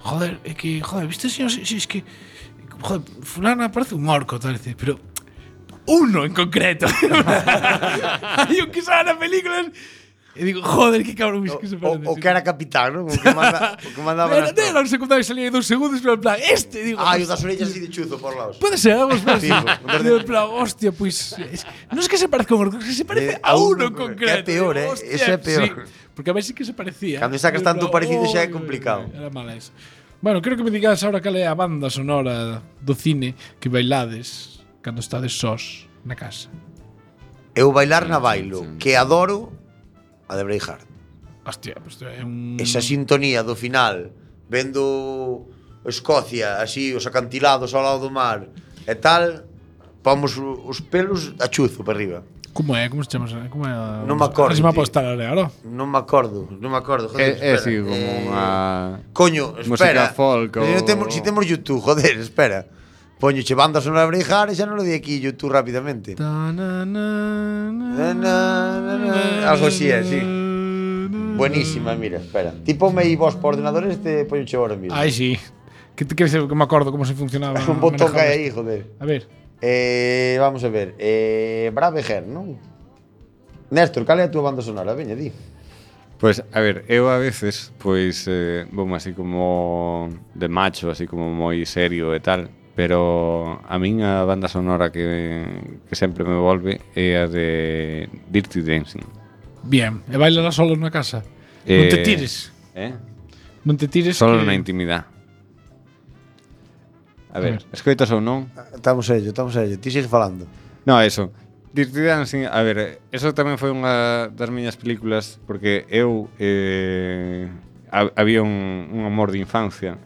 Speaker 4: Joder, é que, joder, viste señor, si, si, es que Joder, fulana parece un orco, tal, dice, pero uno en concreto. Hay un que sale en películas e digo, joder, que cabrón, es
Speaker 2: O,
Speaker 4: que se
Speaker 2: o,
Speaker 4: parece.
Speaker 2: o que era capitán, non? O que manda, o que mandaba
Speaker 4: Era,
Speaker 2: nas-
Speaker 4: era un secundario e salía aí dos segundos, pero en plan, este, digo,
Speaker 2: Ah, e o das orellas así de chuzo por lados.
Speaker 4: Puede ser, vamos,
Speaker 2: Sí,
Speaker 4: puede ser.
Speaker 2: pues,
Speaker 4: Digo, en plan, hostia, pues. es- no es que se parezca a un orco, es que se
Speaker 2: Eh,
Speaker 4: parece a uno en concreto.
Speaker 2: que é peor, eh,
Speaker 4: Digo, hostia,
Speaker 2: ese é peor.
Speaker 4: sí, porque a ver sí que se parecía.
Speaker 2: Cando sacas
Speaker 4: Digo, en
Speaker 2: tanto
Speaker 4: plan,
Speaker 2: parecido xa é
Speaker 4: oi,
Speaker 2: complicado.
Speaker 4: oi, oi, Era mala esa. Bueno, creo que me digas ahora cal é a banda sonora do cine que bailades cando estades sós na casa.
Speaker 2: Eu bailar na bailo, que adoro a de Braveheart.
Speaker 4: Hostia, pues é un...
Speaker 2: Esa sintonía do final, vendo Escocia, así, os acantilados ao lado do mar, e tal, pomos o- os pelos a chuzo para arriba.
Speaker 4: Como é? Como se chama? esa? Como é? a-
Speaker 2: Non me acordo,
Speaker 4: Ah, se me
Speaker 2: tío.
Speaker 4: apostar agora.
Speaker 2: Non me acordo, non me acordo,
Speaker 3: É,
Speaker 2: joder, espera.
Speaker 3: é así como
Speaker 2: Eh,
Speaker 3: unha...
Speaker 2: Coño,
Speaker 3: música
Speaker 2: espera.
Speaker 3: folk
Speaker 2: Si
Speaker 3: ou-
Speaker 2: non temos, si temos YouTube, joder, espera. Poño che banda sonora brejar e xa non lo di aquí YouTube rapidamente. Na, na, na, na. Algo así é, sí. Buenísima, mira, espera. Ti ponme aí vos por ordenador este poño che ahora mismo.
Speaker 4: Ai, sí. Que te queres saber que me acordo como se funcionaba?
Speaker 2: un botón
Speaker 4: manejaba
Speaker 2: cae aí,
Speaker 4: isto.
Speaker 2: joder.
Speaker 4: A ver.
Speaker 2: Eh, vamos a ver. Eh, Braveheart, non? Néstor, cal é a túa banda sonora? Veña, di.
Speaker 3: Pois, a ver, eu a veces, pois, eh, bom, así como de macho, así como moi serio e tal, pero a miña banda sonora que, que sempre me volve é a de Dirty Dancing.
Speaker 4: Bien, e bailará solo na casa. non
Speaker 3: Eh,
Speaker 4: te tires.
Speaker 3: Eh?
Speaker 4: Non te tires.
Speaker 3: Solo
Speaker 4: que-
Speaker 3: na intimidade. A ver,
Speaker 4: A ver.
Speaker 3: escoitas ou non?
Speaker 2: Estamos ello, estamos ello. Ti sigue falando.
Speaker 3: No, eso. Dirty Dancing, a ver, eso tamén foi unha das miñas películas porque eu eh, ha- había un, un amor de infancia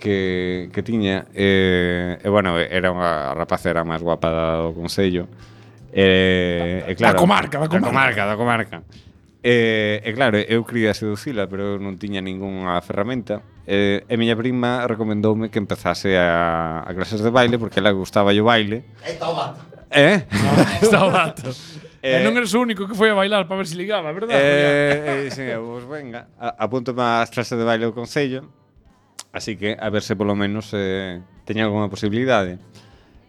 Speaker 3: que, que tiña eh, e bueno, era unha a rapaza era máis guapa da do Consello eh, e claro,
Speaker 4: Da comarca, da comarca.
Speaker 3: da comarca, da comarca. Eh, e claro, eu quería seducila pero eu non tiña ningunha ferramenta eh, e miña prima recomendoume que empezase a, a clases de baile porque ela gustaba o baile Eh?
Speaker 4: Ah. Está o dato.
Speaker 3: Eh,
Speaker 4: e non eres o único que foi a bailar para ver se ligaba, verdad?
Speaker 3: Eh, eh, sí, pues venga, a- apúntome ás clases de baile do Concello, así que a ver se polo menos eh, teña alguna posibilidade.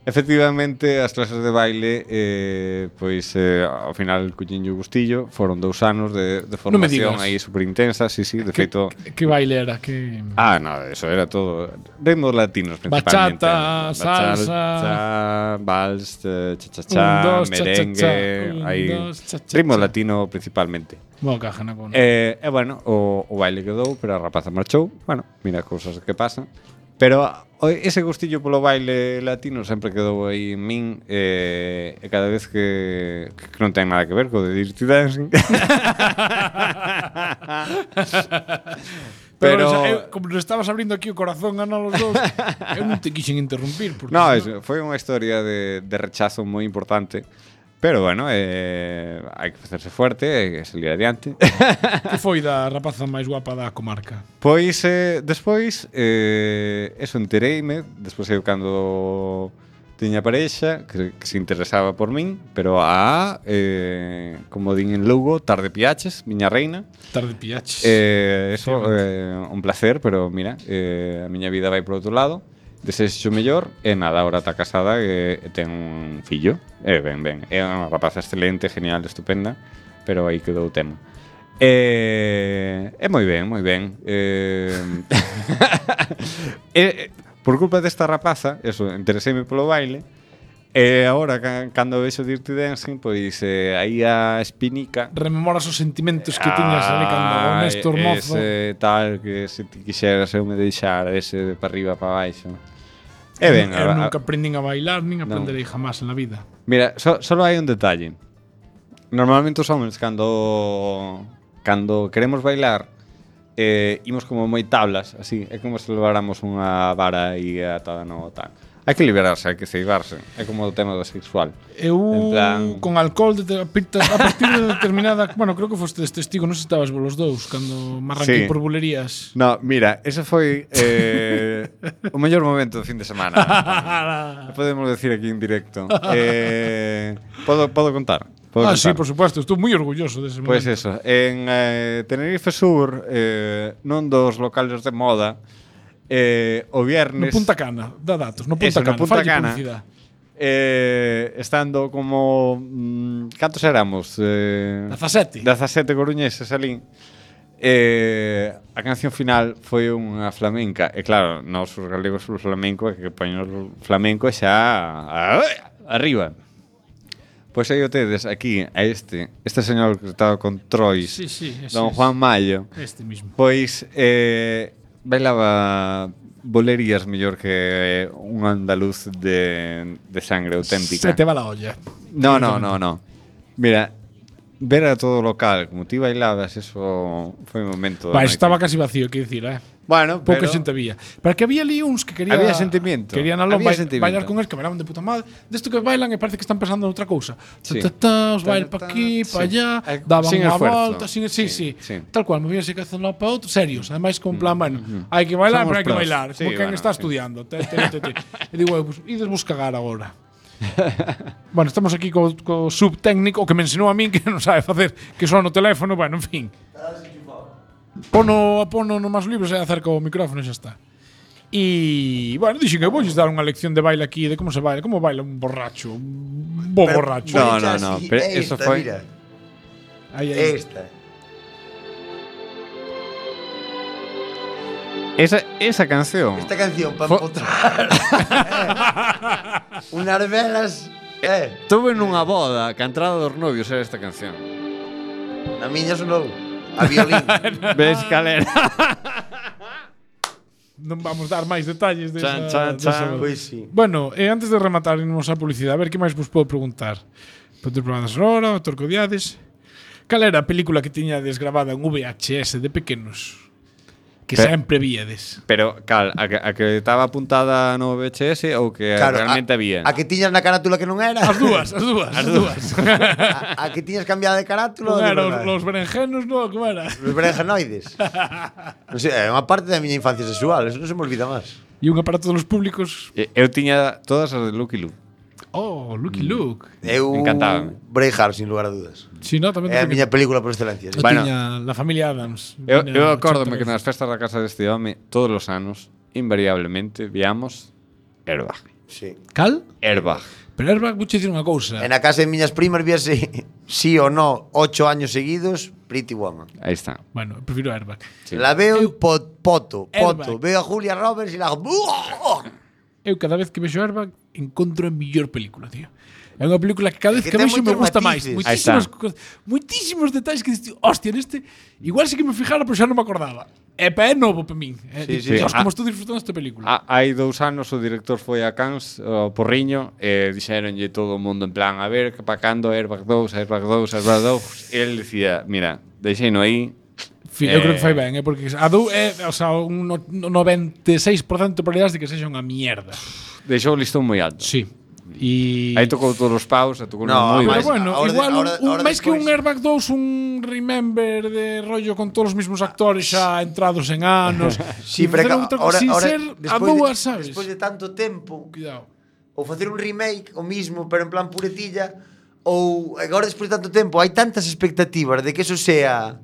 Speaker 3: Efectivamente, as clases de baile eh, pois eh, ao final cuchiño gustillo foron dous anos de, de
Speaker 4: Non me
Speaker 3: formación
Speaker 4: digas.
Speaker 3: aí superintensa, sí, sí, de
Speaker 4: Que,
Speaker 3: feito
Speaker 4: que baile era? Que...
Speaker 3: Ah, no, eso era todo. Ritmos latinos principalmente.
Speaker 4: Bachata,
Speaker 3: cha,
Speaker 4: salsa.
Speaker 3: vals, eh,
Speaker 4: Un,
Speaker 3: cha-cha-cha,
Speaker 4: dos,
Speaker 3: merengue.
Speaker 4: cha-cha-cha. Un,
Speaker 3: hai
Speaker 4: dos, cha-cha-cha.
Speaker 3: ritmo latino principalmente.
Speaker 4: Bueno, caja, na con.
Speaker 3: E, eh, eh, bueno, o, o baile quedou, pero a rapaza marchou. Bueno, mira cousas que pasan. Pero o- ese gustillo polo baile latino sempre quedou aí en min eh, e cada vez que, que non ten nada que ver co de Dirty Dancing.
Speaker 4: Pero,
Speaker 3: pero-
Speaker 4: xa, eu, como nos estabas abrindo aquí o corazón a los dos, eu non te quixen interrumpir. Porque
Speaker 3: No,
Speaker 4: senón-
Speaker 3: es- fue una historia de, de rechazo muy importante. Pero bueno, eh, hay que hacerse fuerte, hay que salir adiante.
Speaker 4: Que foi da rapaza máis guapa da comarca?
Speaker 3: Pois eh, despois eh, eso entereime Despois eu cando tiña parexa que, que se interesaba por min Pero a, eh, como din en Lugo, tarde piaches, miña reina
Speaker 4: Tarde piaches.
Speaker 3: eh, Eso, eh, un placer, pero mira, eh, a miña vida vai por outro lado Desexo mellor e nada, ahora está casada e, e ten un fillo E ben, ben, é unha rapaza excelente, genial, estupenda Pero aí quedou o tema Eh, é moi ben, moi ben. Eh, eh, eh, por culpa desta rapaza, eso, intereseime polo baile. E agora, ca- cando vexo Dirty Dancing, pois eh, aí a espinica
Speaker 4: Rememoras os sentimentos que tiñas ali cando o Néstor
Speaker 3: Ah,
Speaker 4: Mozo.
Speaker 3: Ese tal que se ti quixeras eu me deixar ese de para arriba para baixo. E ben, a-
Speaker 4: eu nunca aprendín a bailar, nin
Speaker 3: Non.
Speaker 4: aprenderei jamás en la vida.
Speaker 3: Mira, so, solo hai un detalle. Normalmente os homens cando cando queremos bailar eh, imos como moi tablas, así, é como se leváramos unha vara aí atada no tan. Hai que liberarse, hai que ceibarse. É como o tema do sexual.
Speaker 4: Eu
Speaker 3: En plan-
Speaker 4: con alcohol de, a partir de determinada, bueno, creo que foste testigo, non se estabas vos dous cando me
Speaker 3: Sí.
Speaker 4: arranquei por bulerías.
Speaker 3: No, mira, ese foi eh, o mellor momento do fin de semana. Podemos decir aquí en directo. Eh, podo, podo contar. Podo
Speaker 4: Ah,
Speaker 3: contar.
Speaker 4: sí, por supuesto, estou moi orgulloso dese
Speaker 3: Pois
Speaker 4: momento.
Speaker 3: eso, en eh, Tenerife Sur, eh, non dos locales de moda, eh, o
Speaker 4: No
Speaker 3: viernes...
Speaker 4: Punta Cana, da datos, no Punta
Speaker 3: Eso, no
Speaker 4: Cana,
Speaker 3: Punta
Speaker 4: falle
Speaker 3: Cana.
Speaker 4: publicidade.
Speaker 3: eh, estando como... Mm, cantos éramos? Eh,
Speaker 4: 17.
Speaker 3: 17 coruñeses alí. Eh, a canción final foi unha flamenca E claro, nós os galegos o flamenco é Que poñemos o flamenco e xa a- Arriba Pois aí o tedes aquí a este Este señor que estaba con Trois
Speaker 4: Sí, sí, ese
Speaker 3: Don
Speaker 4: es.
Speaker 3: Juan Mayo
Speaker 4: Este mismo.
Speaker 3: Pois eh, bailaba bolerías mellor que un andaluz de, de sangre auténtica.
Speaker 4: Se te va la olla.
Speaker 3: No, no, no, no. Mira, ver a todo local como ti bailabas, eso foi un momento. da
Speaker 4: Pa,
Speaker 3: noite.
Speaker 4: estaba casi vacío, que dicir, eh.
Speaker 3: Bueno,
Speaker 4: Pouca
Speaker 3: pero-
Speaker 4: xente había. Pero que había ali uns que querían
Speaker 3: Había sentimiento.
Speaker 4: Querían alón
Speaker 3: Había
Speaker 4: bail,
Speaker 3: sentimiento.
Speaker 4: bailar con el que bailaban de puta madre. Desto que bailan e parece que están pensando en outra cousa.
Speaker 3: Sí.
Speaker 4: Ta, ta, ta, os
Speaker 3: Ta,
Speaker 4: bail
Speaker 3: ta,
Speaker 4: pa aquí,
Speaker 3: sí.
Speaker 4: pa allá,
Speaker 3: Eh,
Speaker 4: daban
Speaker 3: sin
Speaker 4: unha
Speaker 3: esfuerzo.
Speaker 4: volta, sin, sí,
Speaker 3: Sí,
Speaker 4: sí, sí,
Speaker 3: sí. Mm,
Speaker 4: Tal cual, me víase que hacer un lado pa outro, serios, ademais con plan, bueno, hai que
Speaker 3: Somos
Speaker 4: bailar, pero hai que
Speaker 3: pros.
Speaker 4: bailar,
Speaker 3: Sí,
Speaker 4: porque
Speaker 3: bueno,
Speaker 4: está
Speaker 3: sí.
Speaker 4: estudiando. Te, te, te, te. e digo, "Eh, pues, ides vos cagar agora. bueno, estamos aquí co, co subtécnico que me ensinou a min que non sabe facer, que só no teléfono, bueno, en fin. Pono, pono no más libros e acerca o micrófono e xa está. E, bueno, dixen que voulle dar unha lección de baile aquí de como se baila, como baila un borracho, un bo
Speaker 2: Pero-
Speaker 4: borracho.
Speaker 3: No,
Speaker 2: Mira,
Speaker 3: no, no,
Speaker 2: sí,
Speaker 3: pero
Speaker 2: esta,
Speaker 3: eso fue-
Speaker 2: Mira,
Speaker 4: Aí, aí.
Speaker 2: esta.
Speaker 3: Esa, esa canción.
Speaker 2: Esta canción para
Speaker 3: Fo-
Speaker 2: empotrar. eh. Unas velas. Eh,
Speaker 3: Tuve nunha boda que a entrada dos novios era esta canción.
Speaker 2: a miña sonou a violín.
Speaker 3: Ves calera.
Speaker 4: non vamos dar máis detalles de
Speaker 3: Chan, chan, chan.
Speaker 2: pois sí.
Speaker 4: Bueno, e antes de rematar irnos a publicidade, a ver que máis vos podo preguntar. Ponte programa da sonora, o Torcodiades. Cal era a película que tiñades gravada en VHS de pequenos? Que
Speaker 3: Pe-
Speaker 4: sempre víades.
Speaker 3: Pero, cal, a que, a que estaba apuntada no VHS ou que
Speaker 2: Claro, a,
Speaker 3: realmente había.
Speaker 2: A que tiñas na carátula que non era.
Speaker 4: As dúas, as dúas, as dúas.
Speaker 2: A, a que tiñas cambiada de carátula.
Speaker 4: Non
Speaker 2: de
Speaker 4: era os,
Speaker 2: verdade.
Speaker 4: os berenjenos, non, como era?
Speaker 2: Os berenjenoides. non sei, é unha parte da miña infancia sexual, eso non se me olvida máis.
Speaker 4: E un aparato dos públicos.
Speaker 3: E- Eu tiña todas as de Lucky Luke.
Speaker 4: Oh, Lucky Luke.
Speaker 2: Eu
Speaker 3: Encantábame.
Speaker 2: Braveheart, sin lugar a dudas.
Speaker 4: Si, no, tamén
Speaker 2: É a
Speaker 4: tiña-
Speaker 2: miña película por excelencia. sí.
Speaker 4: Eu
Speaker 3: Bueno.
Speaker 4: tiña la familia Adams.
Speaker 3: Eu,
Speaker 4: Tiña
Speaker 3: eu acórdome
Speaker 4: 80
Speaker 3: que nas festas da casa deste home, todos os anos, invariablemente, viamos Airbag.
Speaker 2: Sí.
Speaker 4: Cal?
Speaker 3: Airbag.
Speaker 4: Pero Airbag, vou che dicir unha cousa.
Speaker 2: En a casa de miñas primas víase sí ou no ocho años seguidos Pretty Woman.
Speaker 3: Ahí está.
Speaker 4: Bueno, prefiro Airbag.
Speaker 3: Sí.
Speaker 2: La veo e po- poto, poto.
Speaker 4: Airbag.
Speaker 2: Veo a Julia Roberts e la hago...
Speaker 4: Eu cada vez que vexo Airbag encontro a mellor película, tío. É unha película que cada vez
Speaker 2: Que
Speaker 4: que,
Speaker 2: ten
Speaker 4: vexo me
Speaker 2: moitos
Speaker 4: gusta máis.
Speaker 2: matices.
Speaker 3: Ahí está.
Speaker 4: Muitísimas, co- muitísimos detalles que dices, tío, hostia, neste igual sí que me fijara, pero xa non me acordaba. É pa é novo para min. É,
Speaker 2: Sí, sí.
Speaker 4: sí, sí. Dios,
Speaker 3: Ah.
Speaker 4: como estou disfrutando esta película.
Speaker 3: A, hai dous anos o director foi a Cans, o Porriño, e dixeronlle todo o mundo en plan, a ver, pa cando Airbag 2, Airbag 2, Airbag 2. E el dicía, mira, deixeino aí,
Speaker 4: Fi- eu creo que
Speaker 3: eh.
Speaker 4: fai ben, é porque a dou é, o sea, un no- no- 96% de probabilidades de que sexa unha mierda.
Speaker 3: deixou o listón moi alto.
Speaker 4: Sí. E
Speaker 3: Aí tocou todos os paus, a tocou
Speaker 2: No,
Speaker 3: no, moi
Speaker 4: Pero
Speaker 2: máis-
Speaker 3: ben.
Speaker 4: bueno,
Speaker 2: ahora de-
Speaker 4: igual
Speaker 2: ahora-
Speaker 4: un, un-
Speaker 2: ahora
Speaker 4: máis que un
Speaker 2: despois.
Speaker 4: Airbag 2, un Remember de rollo con todos os mismos actores xa entrados en anos.
Speaker 2: Ah, Sí,
Speaker 4: sin
Speaker 2: pero é que
Speaker 4: facer outra co-
Speaker 2: ahora,
Speaker 4: sin
Speaker 2: ahora,
Speaker 4: ser a
Speaker 2: despois de-
Speaker 4: dúas, sabes?
Speaker 2: Despois de tanto tempo,
Speaker 4: Cuidado.
Speaker 2: ou facer un remake o mismo, pero en plan puretilla, ou agora despois de tanto tempo, hai tantas expectativas de que eso sea...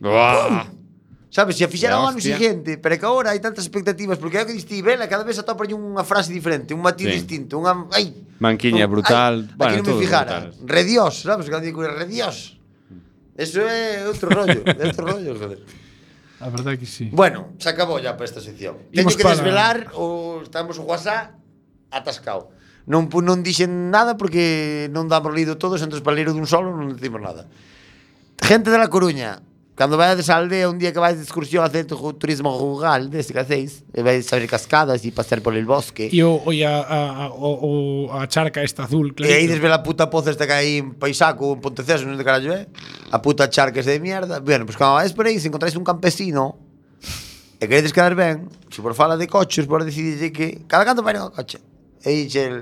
Speaker 3: Buah.
Speaker 2: Sabes, se a fixera o
Speaker 3: La
Speaker 2: ano
Speaker 3: hostia.
Speaker 2: seguinte, pero é que agora hai tantas expectativas, porque é o que diste, vela, cada vez atopa unha frase diferente, un matiz
Speaker 3: Sí.
Speaker 2: distinto, unha... Ai,
Speaker 3: Manquiña
Speaker 2: un-
Speaker 3: brutal,
Speaker 2: Ai,
Speaker 3: bueno,
Speaker 2: bueno, non me
Speaker 3: todos
Speaker 2: fijara.
Speaker 3: brutales.
Speaker 2: Redios, sabes, cando digo redios. Eso é outro rollo, é outro rollo, joder.
Speaker 4: A verdade que sí.
Speaker 2: Bueno, se acabou ya para esta sección. Teño
Speaker 4: Imos
Speaker 2: que
Speaker 4: para-
Speaker 2: desvelar o estamos o WhatsApp atascado. Non pu- non dixen nada porque non damos lido todos, entón para ler o dun solo non decimos nada. Gente de la Coruña, cando vayades á aldea un día que vais de excursión a hacer tu- turismo rural, desde que hacéis, e vais a ver cascadas e pasear por el bosque.
Speaker 4: E o, oi, a, a, a, o, o- a charca esta azul,
Speaker 2: E aí
Speaker 4: claro.
Speaker 2: desvela a puta poza esta que hai en Paisaco, en Ponteceso, non sei de carallo, eh? A puta charca esa de mierda. Bueno, pois pues, cando vais por aí, se encontráis un campesino e queredes quedar ben, se por fala de coches, por decidirlle que cada canto vai un coche. E dixe el,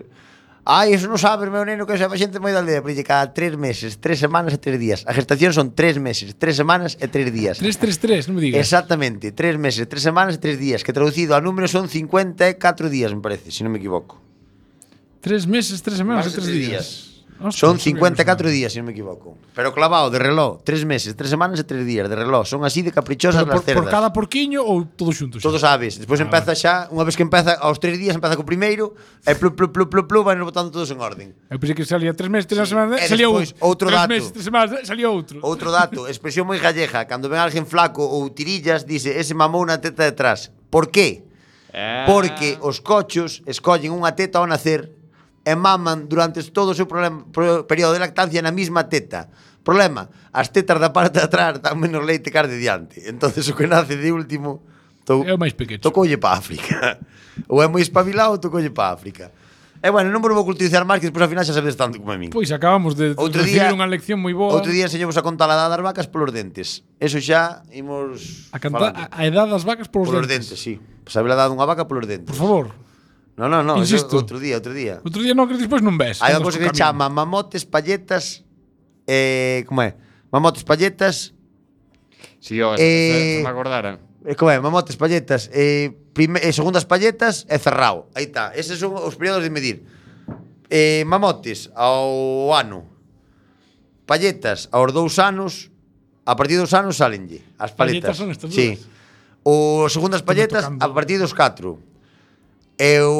Speaker 2: Ai, eso non sabes, meu neno, que esa xente moi da aldea. Pero dixe, cada tres meses, tres semanas e tres días. A gestación son tres meses, tres semanas e tres días.
Speaker 4: 333, non me digas.
Speaker 2: Exactamente, tres meses, tres semanas e tres días. Que traducido a número son 54 días, me parece, se si non me equivoco.
Speaker 4: Tres meses, tres
Speaker 2: Más de
Speaker 4: semanas, tres
Speaker 2: tres
Speaker 4: días. Hostia,
Speaker 2: Son
Speaker 4: non sabía
Speaker 2: 54
Speaker 4: que
Speaker 2: días, se non me equivoco. Pero clavado de reloj, tres meses, tres semanas e tres días de reloj. Son así de
Speaker 4: eso
Speaker 2: caprichosas
Speaker 4: era.
Speaker 2: las
Speaker 4: Pero Por, por
Speaker 2: cerdas.
Speaker 4: cada porquiño ou todos xuntos? xa?
Speaker 2: Todos sabes. Despois
Speaker 4: Ah,
Speaker 2: empeza xa, unha vez que empeza aos tres días empeza co primeiro, e plu plu plu plu plu van botando todos en orden.
Speaker 4: Eu pensei que salía tres meses,
Speaker 2: Sí.
Speaker 4: tres semanas,
Speaker 2: E
Speaker 4: salía
Speaker 2: despois,
Speaker 4: outro.
Speaker 2: outro
Speaker 4: tres
Speaker 2: dato.
Speaker 4: meses, tres semanas, salía outro.
Speaker 2: Outro dato, expresión moi galleja, cando ven alguén flaco ou tirillas, dice, ese mamou unha teta detrás. Por qué?
Speaker 3: Eh,
Speaker 2: Porque os cochos escollen unha teta ao nacer e maman durante todo o seu problema, pro, período de lactancia na mesma teta. Problema, as tetas da parte de atrás dan menos leite que as de diante. Entonces o que nace de último to,
Speaker 4: É o máis pequecho.
Speaker 2: tocoulle pa África. ou é moi espabilado ou tocoulle pa África. E bueno, non vos vou culturizar máis que despois ao final xa sabedes tanto como a min.
Speaker 4: Pois acabamos de
Speaker 2: Outro
Speaker 4: recibir
Speaker 2: día-
Speaker 4: unha lección moi boa.
Speaker 2: Outro día enseñamos a contar a edad das vacas polos dentes. Eso xa imos
Speaker 4: A, cantar,
Speaker 2: falando.
Speaker 4: a, a edad das vacas polos,
Speaker 2: polos dentes,
Speaker 4: dentes.
Speaker 2: si. Sí. Sabe a edad dunha vaca polos dentes.
Speaker 4: Por favor.
Speaker 2: No, no, no, eso
Speaker 4: Insisto.
Speaker 2: outro día, outro día.
Speaker 4: Outro día non, que despois non ves.
Speaker 2: Hai unha cousa
Speaker 4: Andas co
Speaker 2: que
Speaker 4: camión.
Speaker 2: chama mamotes, palletas, eh, como é? Mamotes, palletas,
Speaker 3: Si, yo,
Speaker 2: Eh,
Speaker 3: se, se me acordara.
Speaker 2: eh, como é? Mamotes, palletas, eh, prime, eh, segundas palletas e cerrao. Aí está, eses son os períodos de medir. Eh, mamotes ao ano, palletas aos dous anos, a partir dos anos salenlle as paletas.
Speaker 4: Palletas son estas
Speaker 2: sí.
Speaker 4: dúas.
Speaker 2: O segundas palletas
Speaker 4: tocando.
Speaker 2: a partir dos 4. E o,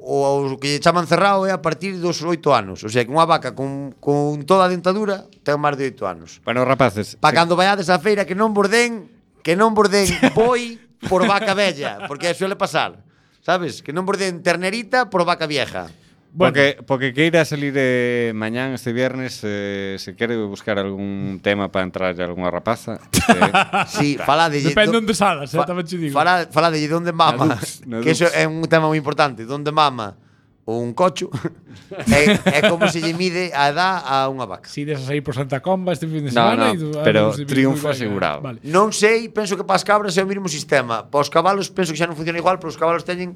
Speaker 2: o, o que lle chaman cerrado é a partir dos 8 anos. O sea, que unha vaca con, con toda a dentadura ten máis de 8 anos.
Speaker 3: Bueno, rapaces,
Speaker 2: Pa
Speaker 3: se-
Speaker 2: cando vaiades á feira que non borden, que non borden boi por vaca bella, porque suele pasar. Sabes? Que non borden ternerita por vaca vieja.
Speaker 4: Bueno,
Speaker 3: eh, Porque, porque queira salir eh, mañán este viernes eh, se quere buscar algún tema para entrar a algunha rapaza eh,
Speaker 2: Sí, falade
Speaker 4: depende onde salas, eh,
Speaker 2: Fa-
Speaker 4: tamén che digo.
Speaker 2: Fala, fala de onde mama,
Speaker 3: Na Dux, na
Speaker 2: que eso
Speaker 3: Dux.
Speaker 2: é un tema moi importante, onde mama un cocho é, é como se lle mide a edad a unha vaca.
Speaker 4: Si desas aí por Santa Comba este fin de
Speaker 3: No,
Speaker 4: semana.
Speaker 3: no,
Speaker 4: e tú- ah,
Speaker 3: pero
Speaker 4: non sei,
Speaker 3: triunfo
Speaker 4: vale,
Speaker 3: asegurado.
Speaker 4: Vale.
Speaker 2: Non sei, penso que para as cabras é o mesmo sistema. Para os cabalos penso que xa non funciona igual, pero os cabalos teñen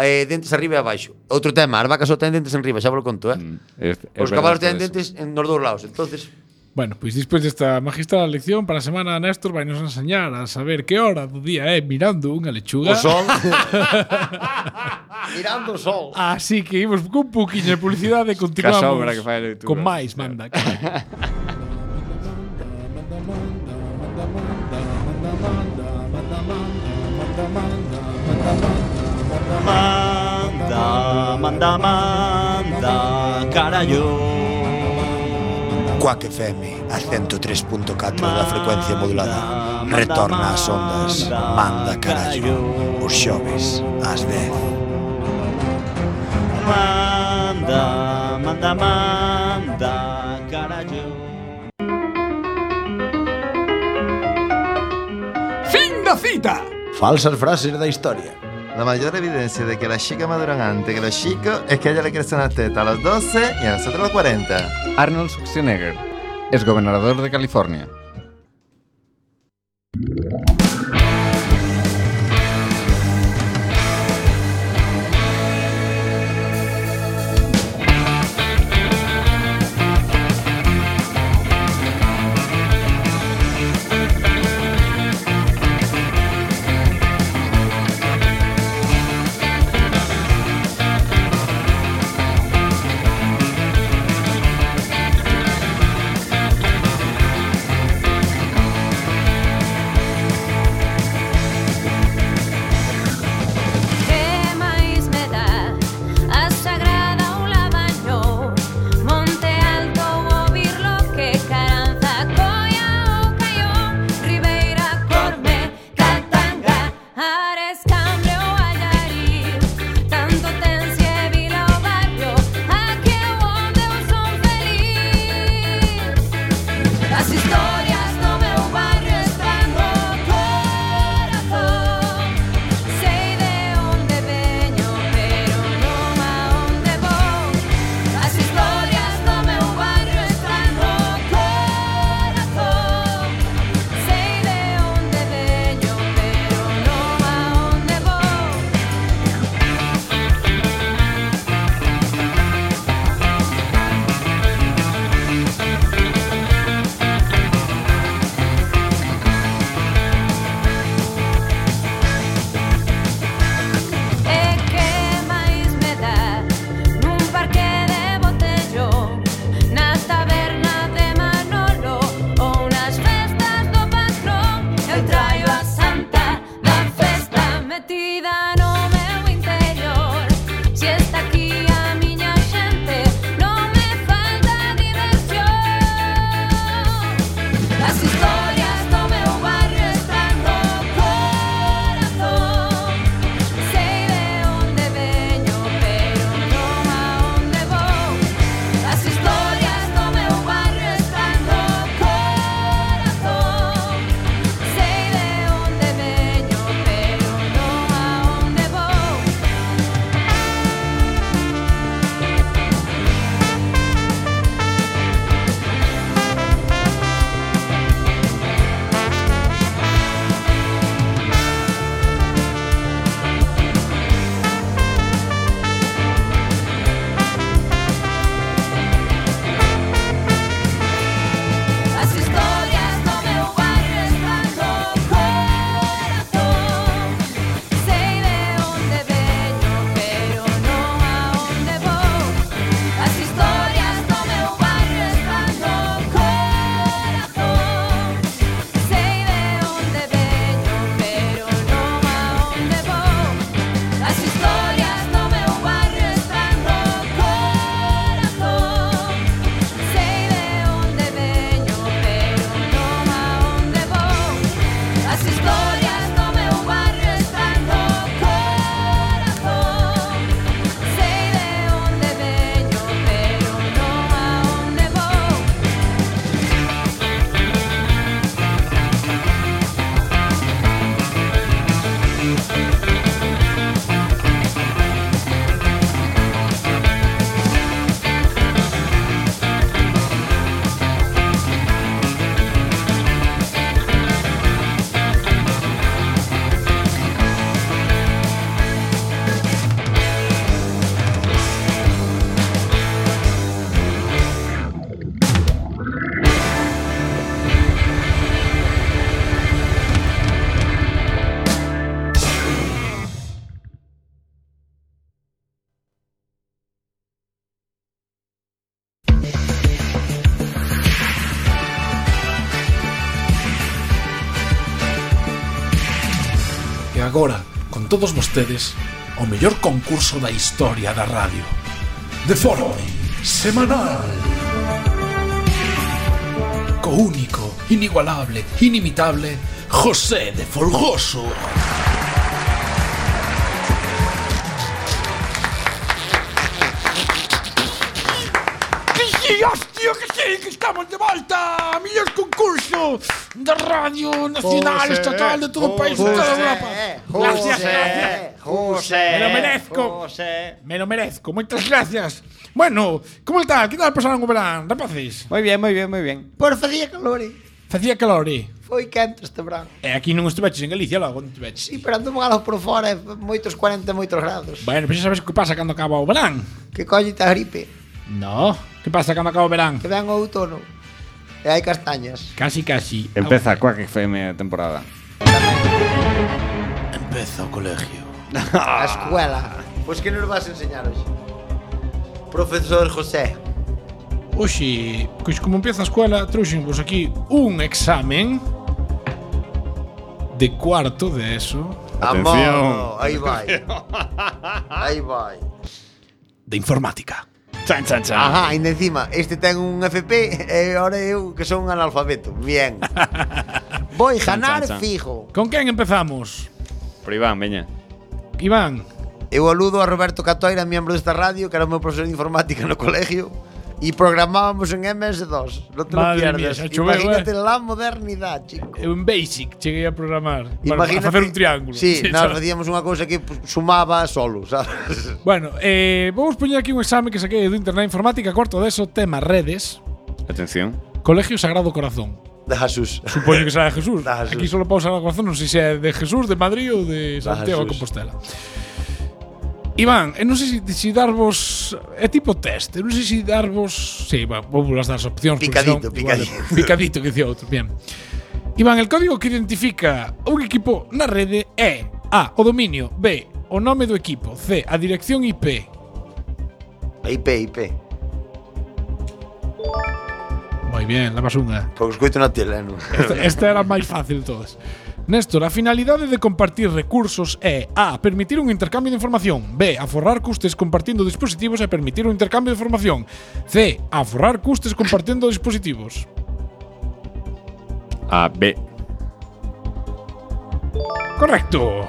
Speaker 2: eh, dentes arriba e abaixo. Outro tema, as vacas só teñen dentes enriba, xa vos lo conto, eh.
Speaker 3: es- es
Speaker 2: os cabalos
Speaker 3: verdad
Speaker 2: teñen
Speaker 3: todo eso.
Speaker 2: dentes en nos dous lados, entonces
Speaker 4: Bueno, pois despois desta magistral lección para a semana Néstor vai nos enseñar a saber que hora do día é mirando unha lechuga.
Speaker 2: o sol Ah, mirando o sol.
Speaker 4: Así que imos cun puquiño de publicidade e continuamos
Speaker 3: Que a sobra que fai a leitura.
Speaker 4: con máis, manda. que vai.
Speaker 6: Manda, manda, Manda, manda, carallo
Speaker 2: Quack FM, a 103.4 da frecuencia modulada. Retorna ás ondas, manda carallo, os xoves, ás 10.
Speaker 6: Manda, manda, manda, carallo
Speaker 1: Fin da cita.
Speaker 2: Falsas frases da historia.
Speaker 7: La mayor evidencia de que las chicas maduran antes que los chicos es que a ella le crecen las tetas a los 12 y a nosotros a los 40.
Speaker 3: Arnold Schwarzenegger es gobernador de California.
Speaker 8: Quemais me dá a sagrada ola baño Monte alto o birlo que caranza coia o caio Ribeira corme catanga Ares cambre o allari Tanto tensie vila o barrio Aquí onde eu son feliz As historias do meu barrio están no corazón Sei de onde veño, pero non a onde vou As historias do meu barrio están no corazón Sei de onde veño, pero non a onde vou E que máis me dá Nun parque de botellón Na taberna de Manolo Ou nas festas do patrón Eu traio a santa da festa Metida no meu interior Se está aquí a miña xente Non me falta diversión As historias do meu barrio están no corazón Sei de onde veño, pero non a onde vou As historias do meu barrio están no corazón Sei de onde veño, pero non a onde vou As historias do meu barrio están no corazón Sei de onde veño, pero non a onde vou As historias do meu barrio están no corazón Sei de onde veño, pero non a onde vou As historias do meu barrio están no corazón Sei de onde veño, pero non a onde vou As historias do meu barrio están no corazón Sei de onde veño, pero non a onde vou
Speaker 4: E agora, con todos vostedes, o o mellor concurso da historia da radio. De forma semanal. Co único, inigualable, inimitable, José de Folgoso. ¡Sí, hostia, que sí, que estamos de volta! Millor concurso da Radio Nacional,
Speaker 7: José,
Speaker 4: Estatal de todo o país, de toda Europa. Gracias, gracias.
Speaker 6: José.
Speaker 4: Me lo merezco.
Speaker 6: José.
Speaker 4: Me lo merezco, moitas gracias. Bueno, como tal? Que tal pasaron o verán, rapaces?
Speaker 3: Moi bien, moi bien, moi bien.
Speaker 2: Por facía calor, eh.
Speaker 4: Facía calor, e?
Speaker 2: Foi quente este verano.
Speaker 4: E aquí non estiveches en Galicia, logo non estiveches.
Speaker 2: Sí, pero andamos galos por fora, eh, moitos 40, moitos grados.
Speaker 4: Bueno, pero xa sabes que pasa cando acaba o verán.
Speaker 2: Que collita a gripe,
Speaker 4: No. Que pasa cando acaba o verán?
Speaker 2: que ven o outono. E hai castañas.
Speaker 4: Casi, casi.
Speaker 3: Empeza coa que FM a temporada.
Speaker 4: Empeza o colegio.
Speaker 2: A escuela. Pois que Ah. Pues, nos vas enseñar hoxe? Profesor José.
Speaker 4: Oxe, pois como empeza a escola, trouxenvos aquí un examen de cuarto de eso,
Speaker 2: Amor, aí vai. Aí vai.
Speaker 4: de informática. Chan, chan, chan.
Speaker 2: Ajá, ainda encima, este ten un FP e ahora eu que son un analfabeto. Bien. Voy a ganar
Speaker 3: chan, chan.
Speaker 2: fijo.
Speaker 4: Con quen empezamos?
Speaker 3: Por Iván, veña.
Speaker 4: Iván.
Speaker 2: Eu aludo a Roberto Catoira, miembro desta radio, que era o meu profesor de informática no colegio, e programábamos en MS2. Non te lo
Speaker 4: Madre mía,
Speaker 2: pierdas.
Speaker 4: xa choveu,
Speaker 2: Imagínate la modernidade, chico.
Speaker 4: Eu en Basic cheguei a programar para,
Speaker 2: Imagínate,
Speaker 4: para facer un triángulo.
Speaker 2: Sí, sí nós
Speaker 4: sabes?
Speaker 2: facíamos unha cousa que pues, sumaba solo, sabes?
Speaker 4: Bueno, eh, vamos poñer aquí un exame que saquei do Internet Informática, cuarto de eso, tema redes,
Speaker 3: Atención.
Speaker 4: Colegio Sagrado Corazón.
Speaker 2: De Jesús.
Speaker 4: Supoño que será de Jesús.
Speaker 2: Da Jesús.
Speaker 4: Aquí solo pon Sagrado Corazón, non sei se é de Jesús, de Madrid ou de
Speaker 2: Da
Speaker 4: Santiago de
Speaker 2: Jesús.
Speaker 4: Compostela. Iván, eu non sei se si darvos é tipo test, eu non sei se si darvos, si, sí, va, vou las dar as opcións porque
Speaker 2: Picadito,
Speaker 4: senón, igual,
Speaker 2: picadito.
Speaker 4: picadito que dicía outro, bien. Iván, el código que identifica un equipo na rede é A, o dominio, B, o nome do equipo, C, a dirección IP,
Speaker 2: IP, IP.
Speaker 4: Moi bien, levas unha.
Speaker 2: Porque escoito na tele, non?
Speaker 4: Esta, esta este era a máis fácil de todas. Néstor, a finalidade de compartir recursos é A. Permitir un intercambio de información B. Aforrar custes compartindo dispositivos e permitir un intercambio de información C. Aforrar custes compartindo dispositivos
Speaker 3: A B.
Speaker 4: Correcto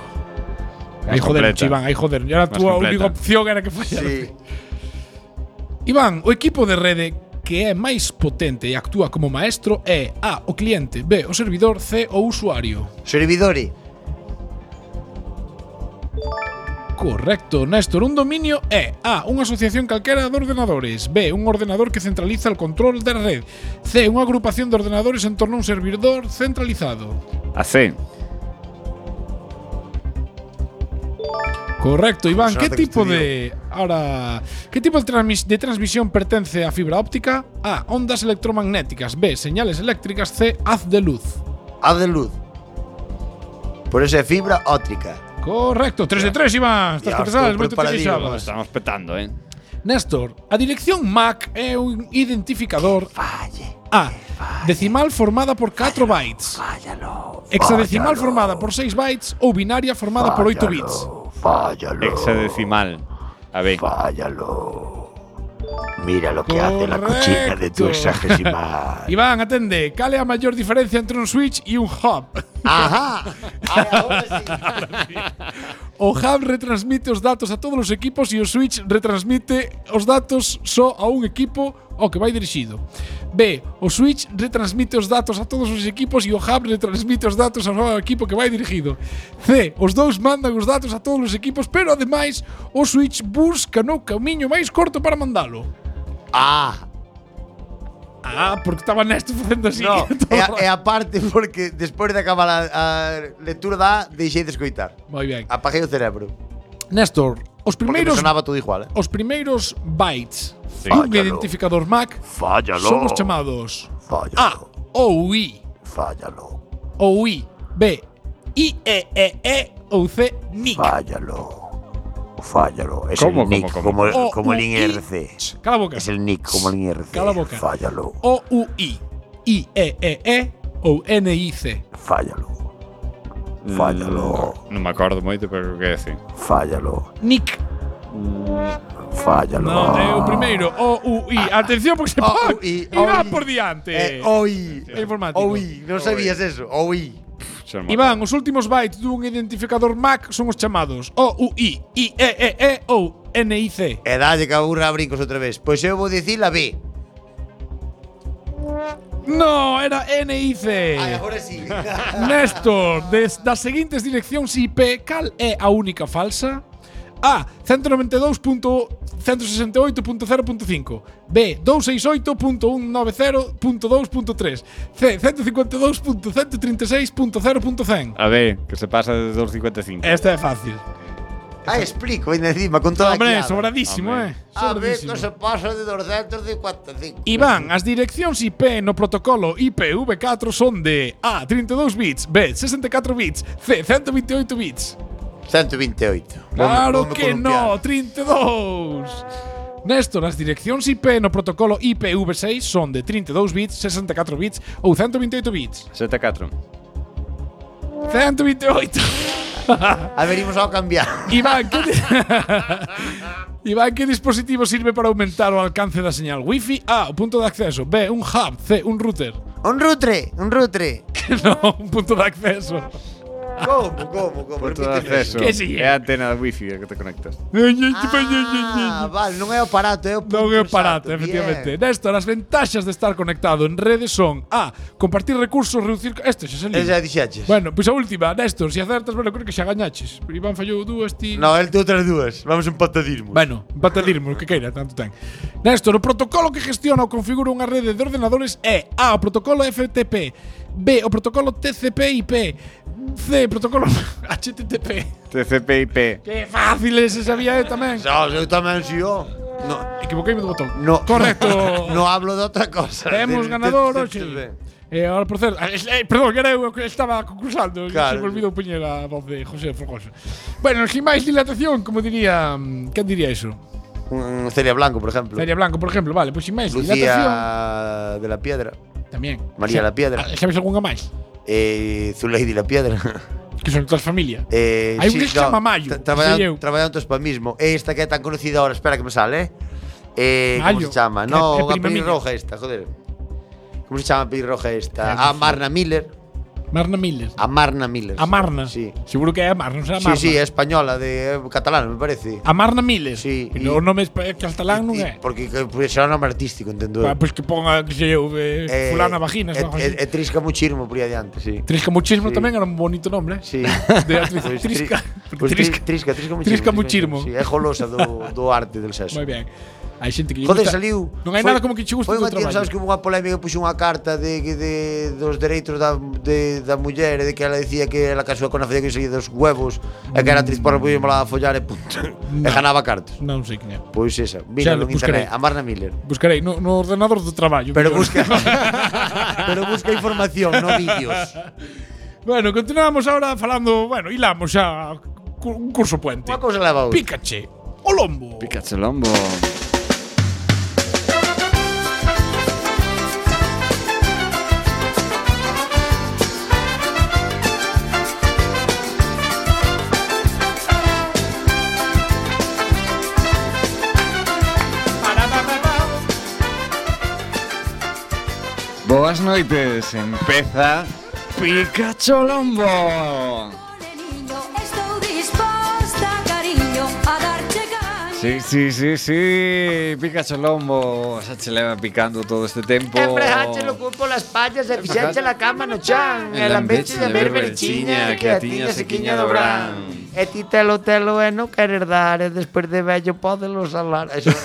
Speaker 4: Aí joder,
Speaker 3: completa.
Speaker 4: Iván, aí joder Era a
Speaker 3: Más
Speaker 4: túa
Speaker 3: completa.
Speaker 4: única opción era que fallara
Speaker 2: Sí.
Speaker 4: Iván, o equipo de rede que é máis potente e actúa como maestro é A. O cliente B. O servidor C. O usuario
Speaker 2: Servidori.
Speaker 4: Correcto, Néstor. Un dominio é A. Unha asociación calquera de ordenadores B. Un ordenador que centraliza el control da red C. Unha agrupación de ordenadores en torno a un servidor centralizado
Speaker 3: A C.
Speaker 4: Correcto, Iván.
Speaker 2: Pues
Speaker 4: Que
Speaker 2: nada que
Speaker 4: tipo
Speaker 2: te
Speaker 4: de... Ahora... Que tipo de, transmis- de transmisión pertence a fibra óptica? A. Ondas electromagnéticas B. Señales eléctricas C. Haz de luz
Speaker 2: Haz de luz. Por eso é fibra óptica.
Speaker 4: Correcto, 3 de 3, Iván. Estás
Speaker 2: Ya,
Speaker 4: que te sabes,
Speaker 2: estoy
Speaker 4: moito te
Speaker 2: preparadísimo.
Speaker 4: queixabas.
Speaker 3: Estamos petando, eh.
Speaker 4: Néstor, a dirección MAC é un identificador A. Decimal formada por 4 bytes. Hexadecimal formada por 6 bytes ou binaria formada por 8 bits.
Speaker 2: Fállalo,
Speaker 3: Hexadecimal. A B.
Speaker 2: fállalo. Mira lo
Speaker 4: Correcto.
Speaker 2: hexagesimal.
Speaker 4: Iván, atende, cal é a maior diferencia entre un switch e un hub?
Speaker 2: Ajá. Ahora
Speaker 4: O hub retransmite os datos a todos os equipos e o switch retransmite os datos só a un equipo ao que vai dirixido. B. O switch retransmite os datos a todos os equipos e o hub retransmite os datos ao equipo que vai dirigido. C. Os dous mandan os datos a todos os equipos, pero ademais o switch busca no camiño máis corto para mandalo.
Speaker 2: Ah,
Speaker 4: Ah, porque estaba neste facendo así.
Speaker 2: no.
Speaker 4: Todo
Speaker 2: E,
Speaker 4: o
Speaker 2: a- e
Speaker 4: rato.
Speaker 2: aparte porque despois de acabar a, a lectura da A, deixei de escoitar.
Speaker 4: Moi ben.
Speaker 2: Apaguei o cerebro.
Speaker 4: Néstor, os
Speaker 2: Porque me
Speaker 4: primeiros
Speaker 2: sonaba todo igual, eh.
Speaker 4: os primeiros bytes dun identificador MAC
Speaker 2: Fállalo.
Speaker 4: son os chamados A,
Speaker 2: Fállalo.
Speaker 4: OUI,
Speaker 2: Fállalo.
Speaker 4: OUI, B, IEEE ou C, NIC.
Speaker 2: Fállalo. Fállalo. Es el
Speaker 3: ¿Cómo, cómo,
Speaker 2: NIC,
Speaker 3: cómo?
Speaker 2: como, el-
Speaker 4: O,
Speaker 2: como el
Speaker 4: U, I.
Speaker 2: IRC.
Speaker 4: Cala a boca.
Speaker 2: Es el NIC como el IRC.
Speaker 4: Cala boca.
Speaker 2: Fállalo.
Speaker 4: OUI, IEEE ou NIC.
Speaker 2: Fállalo. Fállalo.
Speaker 3: Non Mm, me acordo moito, pero que decir.
Speaker 2: Fállalo.
Speaker 4: Nick.
Speaker 2: Fállalo.
Speaker 4: Non, é o primeiro. O, U, I. Atención, porque
Speaker 2: Oh,
Speaker 4: se pon.
Speaker 2: Oi,
Speaker 4: Iván
Speaker 2: oi.
Speaker 4: por diante.
Speaker 2: Eh, oi.
Speaker 4: É informático.
Speaker 2: Oi, non sabías eso. Oh, Oi.
Speaker 3: Xa me
Speaker 4: Iván, os últimos bytes dun identificador MAC son os chamados OUI, IEEE ou NIC.
Speaker 2: E dalle que aburra a brincos outra vez. Pois eu vou dicir a B.
Speaker 4: No, era NIC.
Speaker 2: Ai, agora sí.
Speaker 4: Néstor, des, das seguintes direccións IP, cal é a única falsa? A. 192.168.0.5 B. 268.190.2.3 C. 152.136.0.100
Speaker 3: A ver, que se pasa de 2.55.
Speaker 4: Esta é fácil.
Speaker 2: ah, explico, ainda encima, con toda
Speaker 4: Hombre,
Speaker 2: a clara.
Speaker 4: sobradísimo,
Speaker 3: Hombre.
Speaker 4: eh.
Speaker 2: A B que
Speaker 4: Sobradísimo.
Speaker 2: se pasa de 255.
Speaker 4: Iván, as direccións IP no protocolo IPv4 son de A. 32 bits B. 64 bits C. 128 bits
Speaker 2: 128.
Speaker 4: Claro
Speaker 2: Voume- voume
Speaker 4: que no,
Speaker 2: columpiar.
Speaker 4: 32. Néstor, as direccións IP no protocolo IPv6 son de 32 bits, 64 bits ou 128 bits.
Speaker 3: 74.
Speaker 4: 128.
Speaker 2: A ver, imos ao cambiar.
Speaker 4: Iván, que di- Iván, que dispositivo sirve para aumentar o alcance da señal Wi-Fi? A, o punto de acceso. B, un hub. C, un router.
Speaker 2: Un rutre, un rutre.
Speaker 4: no, un punto de acceso.
Speaker 2: Como, como, como?
Speaker 3: Por todo
Speaker 2: Repíteme.
Speaker 3: acceso.
Speaker 4: Que sí, eh.
Speaker 3: É a antena de wifi a que te conectas.
Speaker 2: Ah, vale, non é o aparato, é o punto
Speaker 4: Non é
Speaker 2: exacto.
Speaker 4: barato, efectivamente.
Speaker 2: Bien.
Speaker 4: Néstor, as ventaxas de estar conectado en redes son A, compartir recursos, reducir... Este xa
Speaker 2: Eh,
Speaker 4: se liga.
Speaker 2: xa dixaches.
Speaker 4: Bueno, pois a última, Néstor, se acertas, bueno, creo que xa gañaches. Iván fallou dúas, ti...
Speaker 2: No, el te outras dúas. Vamos empatadirmos.
Speaker 4: Bueno, empatadirmos, que queira, tanto ten. Néstor, o protocolo que gestiona ou configura unha rede de ordenadores é A, o protocolo FTP, B, o protocolo TCP/IP, C, protocolo HTTP.
Speaker 3: TCP/IP.
Speaker 4: Que fáciles, se sabía eu tamén.
Speaker 2: Xa, eu tamén si yo. No,
Speaker 4: Equivoqueime do botón.
Speaker 2: no,
Speaker 4: Correcto.
Speaker 2: No, hablo de outra cosa.
Speaker 4: Temos
Speaker 2: Del-
Speaker 4: ganador
Speaker 2: del-
Speaker 4: hoxe.
Speaker 2: del- del-
Speaker 4: E agora por certo, eh, eh, perdón, era eu que estaba concursando, claro.
Speaker 2: Claro.
Speaker 4: se me olvidou poñer a voz de José Forgoso. Bueno, sin máis dilatación, como diría, mm, quen diría eso?
Speaker 2: Mm, Celia Blanco, por ejemplo.
Speaker 4: Celia Blanco, por exemplo, vale, pois sin máis dilatación
Speaker 2: Lucía de la Piedra.
Speaker 4: tamén.
Speaker 2: María
Speaker 4: Xa-
Speaker 2: la Piedra.
Speaker 4: Ah, Sabes algunha máis?
Speaker 2: Eh, Zuley de la Piedra.
Speaker 4: Que son todas familia.
Speaker 2: Eh,
Speaker 4: Hai un que se chama Mayo,
Speaker 2: tra-
Speaker 4: sei eu.
Speaker 2: Traballan, traballan todos para mismo. Eh, Esta que é tan conocida ahora, espera que me sale, eh. eh como
Speaker 4: Mayo,
Speaker 2: se chama?
Speaker 4: que-
Speaker 2: No,
Speaker 4: que
Speaker 2: a
Speaker 4: prima miña.
Speaker 2: pelirroja esta, joder. Como se chama a pelirroja
Speaker 4: Ah,
Speaker 2: esta?
Speaker 4: non
Speaker 2: A Marna Miller.
Speaker 4: Marna Miller.
Speaker 2: A Marna Miller.
Speaker 4: A Marna.
Speaker 2: Sí.
Speaker 4: Seguro que é a Marna, non será
Speaker 2: Sí,
Speaker 4: Marna.
Speaker 2: sí, é española, de é catalana, me parece.
Speaker 4: A Marna Miller.
Speaker 2: Sí, y-
Speaker 4: Pero o nome espa- catalán non
Speaker 2: Y-
Speaker 4: é.
Speaker 2: Porque que, pues, será un nombre artístico, entendo.
Speaker 4: Ah,
Speaker 2: eu.
Speaker 4: Pois que ponga, que sei eu, eh,
Speaker 2: Eh,
Speaker 4: fulana vaginas,
Speaker 2: E,
Speaker 4: ou algo
Speaker 2: e,
Speaker 4: así.
Speaker 2: e Trisca Muchirmo por aí adiante, sí.
Speaker 4: Trisca Muchismo
Speaker 2: Sí.
Speaker 4: tamén era un bonito nome, eh?
Speaker 2: Sí.
Speaker 4: De actriz.
Speaker 2: Pois tri-
Speaker 4: Trisca.
Speaker 2: pois tri-
Speaker 4: Trisca.
Speaker 2: Trisca, Trisca Muchirmo.
Speaker 4: Trisca
Speaker 2: sí,
Speaker 4: Muchirmo.
Speaker 2: Sí, é golosa do, do arte del sexo.
Speaker 4: Moi ben. Hai xente que lle
Speaker 2: Joder,
Speaker 4: gusta.
Speaker 2: saliu.
Speaker 4: Non hai
Speaker 2: foi-
Speaker 4: nada como que che gusta
Speaker 2: foi
Speaker 4: o teu
Speaker 2: unha tía,
Speaker 4: traballo.
Speaker 2: Sabes que hubo unha polémica puxo unha carta de, que de dos dereitos da, de, da muller e de que ela decía que ela casou con a falla que saía dos huevos e que era actriz porno pois mola a follar e punto. E
Speaker 4: No.
Speaker 2: ganaba cartos.
Speaker 4: Non sei quen é.
Speaker 2: Pois esa,
Speaker 4: Xa
Speaker 2: mira no
Speaker 4: lo
Speaker 2: internet, a
Speaker 4: buscarei.
Speaker 2: Marna Miller.
Speaker 4: Buscarei no, no ordenador do traballo.
Speaker 2: Pero
Speaker 4: mellor.
Speaker 2: busca Pero busca información, no vídeos.
Speaker 4: bueno, continuamos ahora falando, bueno, hilamos xa cu- un curso puente.
Speaker 2: Unha cousa leva a outra.
Speaker 4: Pícache, o lombo.
Speaker 3: Picachelombo. Boas noites, empeza Picacholombo.
Speaker 8: Ole, niño, estou disposta, cariño, a darche caña.
Speaker 3: Sí, sí, sí, sí. Pikachu Lombo. Xa che leva picando todo este tempo.
Speaker 2: cupo las pallas e fixenche la cama no chan
Speaker 3: E lambeche de ver verchiña que a tiña se quiña dobran.
Speaker 2: E ti telo telo e non querer dar E despois de vello podelo salar Eso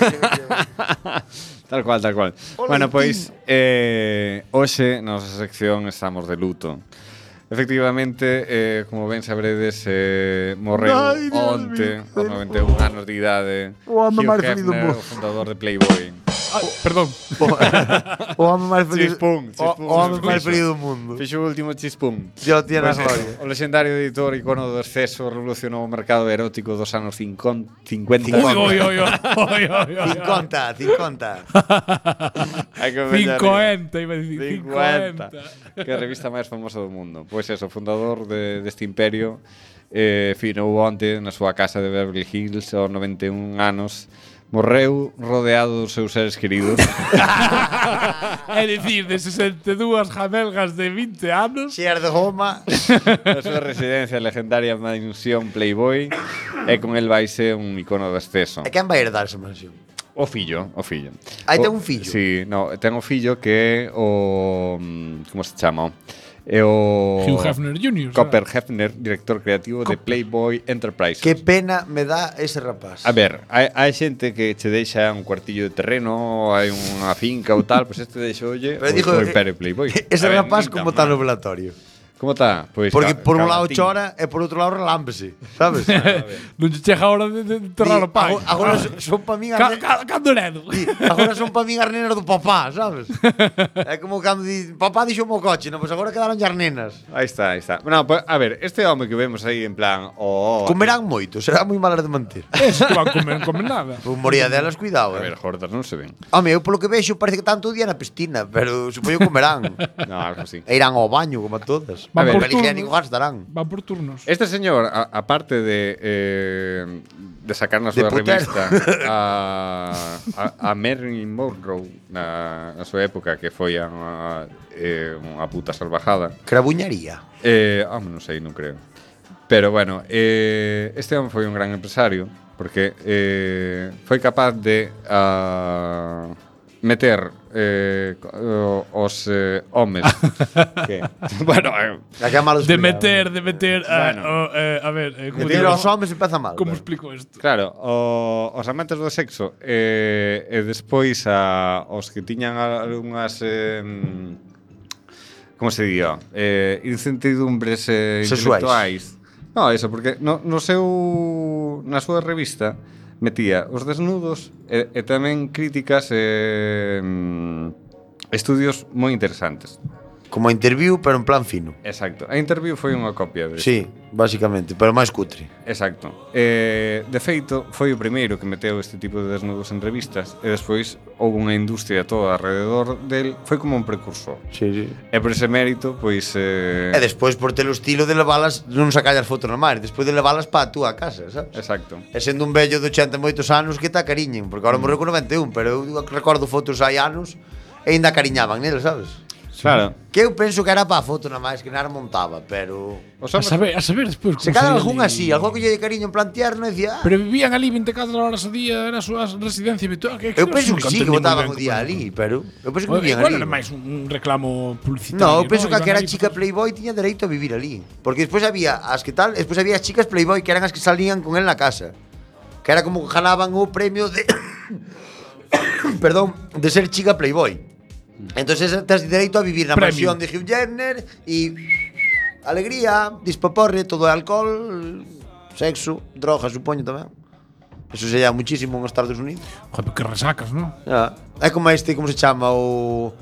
Speaker 3: Tal cual, tal cual. bueno, pois, eh, hoxe na nosa sección estamos de luto. Efectivamente, eh, como ben sabredes, eh, morreu
Speaker 2: Ai, Dios
Speaker 3: onte,
Speaker 2: mío.
Speaker 3: aos 91 anos de idade,
Speaker 2: O home
Speaker 3: Hugh
Speaker 2: máis feliz do mundo.
Speaker 3: Hefner, o fundador de Playboy.
Speaker 4: Perdón.
Speaker 2: O home máis feliz, o,
Speaker 3: Chispún, chispún.
Speaker 2: o home máis feliz do mundo.
Speaker 3: Fixo o último chispum.
Speaker 2: Yo tiene
Speaker 3: Pois,
Speaker 2: gloria.
Speaker 3: O legendario editor icono do exceso revolucionou o mercado erótico dos anos e 50. 50.
Speaker 4: Ui, oi, oi, oi, oi, oi, oi.
Speaker 2: 50, 50.
Speaker 3: Hai que pensar en-
Speaker 4: 50, iba a decir
Speaker 3: 50.
Speaker 4: 50.
Speaker 3: Que a revista máis famosa do mundo. Pois é, o fundador de, deste imperio eh, finou onte na súa casa de Beverly Hills aos 91 anos Morreu rodeado dos seus seres queridos.
Speaker 4: É dicir, de 62 jamelgas de 20 anos.
Speaker 2: Xer de goma.
Speaker 3: na súa residencia legendaria mansión Playboy e con el vai ser un icono do exceso.
Speaker 2: E quen vai herdar esa mansión?
Speaker 3: O fillo, o fillo.
Speaker 2: Aí
Speaker 3: O-
Speaker 2: Ah, ten un fillo?
Speaker 3: Sí, no, ten un fillo que é o... mm, Como se chama? É o...
Speaker 4: Hugh Hefner Jr.
Speaker 3: Copper Hefner, director creativo de Playboy Enterprises.
Speaker 2: Que pena me dá ese rapaz.
Speaker 3: A ver, hai, hai xente que che deixa un cuartillo de terreno, hai unha finca ou tal, pois pues este deixoulle
Speaker 2: Pero
Speaker 3: o,
Speaker 2: dijo,
Speaker 3: o
Speaker 2: eh,
Speaker 3: Imperio Playboy.
Speaker 2: Ese
Speaker 3: A ver,
Speaker 2: rapaz
Speaker 3: nin
Speaker 2: como está
Speaker 3: tan
Speaker 2: no
Speaker 3: mal.
Speaker 2: velatorio.
Speaker 3: Como está? Pois
Speaker 2: Porque
Speaker 3: ca-
Speaker 2: por un lado
Speaker 3: cagatín.
Speaker 2: chora e por outro lado relámpese, sabes?
Speaker 4: Non che chega a hora de, de enterrar o pai.
Speaker 2: Agora- Agora son para min as ne-
Speaker 4: Ca- ca- Cando ledo.
Speaker 2: Di, Agora son para min as nenas do papá, sabes? É como cando di, papá dixo o coche, non, pois agora quedaron as nenas.
Speaker 3: Aí está, aí está. No, pues, a ver, este home que vemos aí en plan... Oh,
Speaker 2: Comerán moito, será moi malas de manter.
Speaker 4: Es que van comer, non comen nada.
Speaker 2: Pois moría delas, cuidado,
Speaker 3: A
Speaker 2: eh.
Speaker 3: ver, gordas non se ven.
Speaker 2: Home, eu polo que vexo parece que tanto día na piscina, pero supoño comerán.
Speaker 3: No, algo así.
Speaker 2: e irán ao baño como a todas.
Speaker 4: Van
Speaker 2: Van
Speaker 3: por
Speaker 2: papel higiénico
Speaker 4: turnos.
Speaker 2: gastarán.
Speaker 4: Van por turnos.
Speaker 2: E
Speaker 3: Este señor, a- aparte de, eh, de sacar na
Speaker 2: De
Speaker 3: súa
Speaker 2: putero.
Speaker 3: revista a, a, a Marilyn Monroe na, na súa época, que foi a, a, eh, unha puta salvajada,
Speaker 2: Crabuñaría.
Speaker 3: eh, ah, non sei, non creo. Pero bueno, eh, este home foi un gran empresario porque eh, foi capaz de ah, meter eh, co- o- os eh, homes que, bueno, eh,
Speaker 2: A que malos
Speaker 4: De meter, de meter. ah,
Speaker 3: Bueno.
Speaker 4: oh, eh, a ver, eh, como,
Speaker 2: Meter
Speaker 4: digo,
Speaker 2: aos homens empeza mal. pero.
Speaker 4: como explico isto?
Speaker 3: Claro, o, os amantes do sexo eh, e despois a, os que tiñan algunhas eh, como se día eh, incertidumbres eh,
Speaker 2: Sexuais.
Speaker 3: intelectuais No, eso, porque no, no seu na súa revista metía os desnudos e, e tamén críticas e mm, estudios moi interesantes.
Speaker 2: Como interview, pero en plan fino.
Speaker 3: Exacto. A interview foi unha copia de
Speaker 2: Sí, basicamente, pero máis cutre.
Speaker 3: Exacto. Eh, de feito, foi o primeiro que meteu este tipo de desnudos en revistas e despois houve unha industria toda alrededor del, foi como un precursor.
Speaker 2: Sí, sí.
Speaker 3: E por ese mérito, pois eh,
Speaker 2: E despois por ter o estilo de levalas, non sacallas fotos na mare, despois de levalas para a túa casa, sabes?
Speaker 3: Exacto.
Speaker 2: E sendo un vello de 80 e moitos anos que te acariñen, porque agora morreu con 91, pero eu recordo fotos hai anos e ainda acariñaban nel, sabes?
Speaker 3: Claro.
Speaker 2: Que eu penso que era para a foto na máis, que nada montaba, pero...
Speaker 3: Os
Speaker 4: A
Speaker 3: homes,
Speaker 4: saber, a saber despois.
Speaker 2: Se
Speaker 4: como
Speaker 2: cada
Speaker 4: saían
Speaker 2: algún
Speaker 4: de-
Speaker 2: así, algún que lle de cariño en plan tierno e dicía, ah,
Speaker 4: Pero vivían ali 24 horas ao día, era a súa residencia habitual. Ah, Que,
Speaker 2: Eu penso que sí, que botaban o
Speaker 4: votaban
Speaker 2: día ali, pero eu penso que vivían
Speaker 4: Igual
Speaker 2: ali.
Speaker 4: era máis un un reclamo publicitario.
Speaker 2: No, eu penso que
Speaker 4: Iban
Speaker 2: aquela
Speaker 4: ali
Speaker 2: chica
Speaker 4: por-
Speaker 2: Playboy tiña dereito a vivir ali, porque despois había as que tal, despois había as chicas Playboy que eran as que salían con el na casa. Que era como que ganaban o premio de Perdón, de ser chica Playboy. Entonces tens dereito a vivir na
Speaker 4: Premio.
Speaker 2: mansión de Hugh Jenner e alegría, dispaporre, todo é alcohol, sexo, droga, supoño tamén. Eso sería muchísimo nos Estados Unidos.
Speaker 4: Joder, que resacas, non?
Speaker 2: Ah, é como este, como se chama o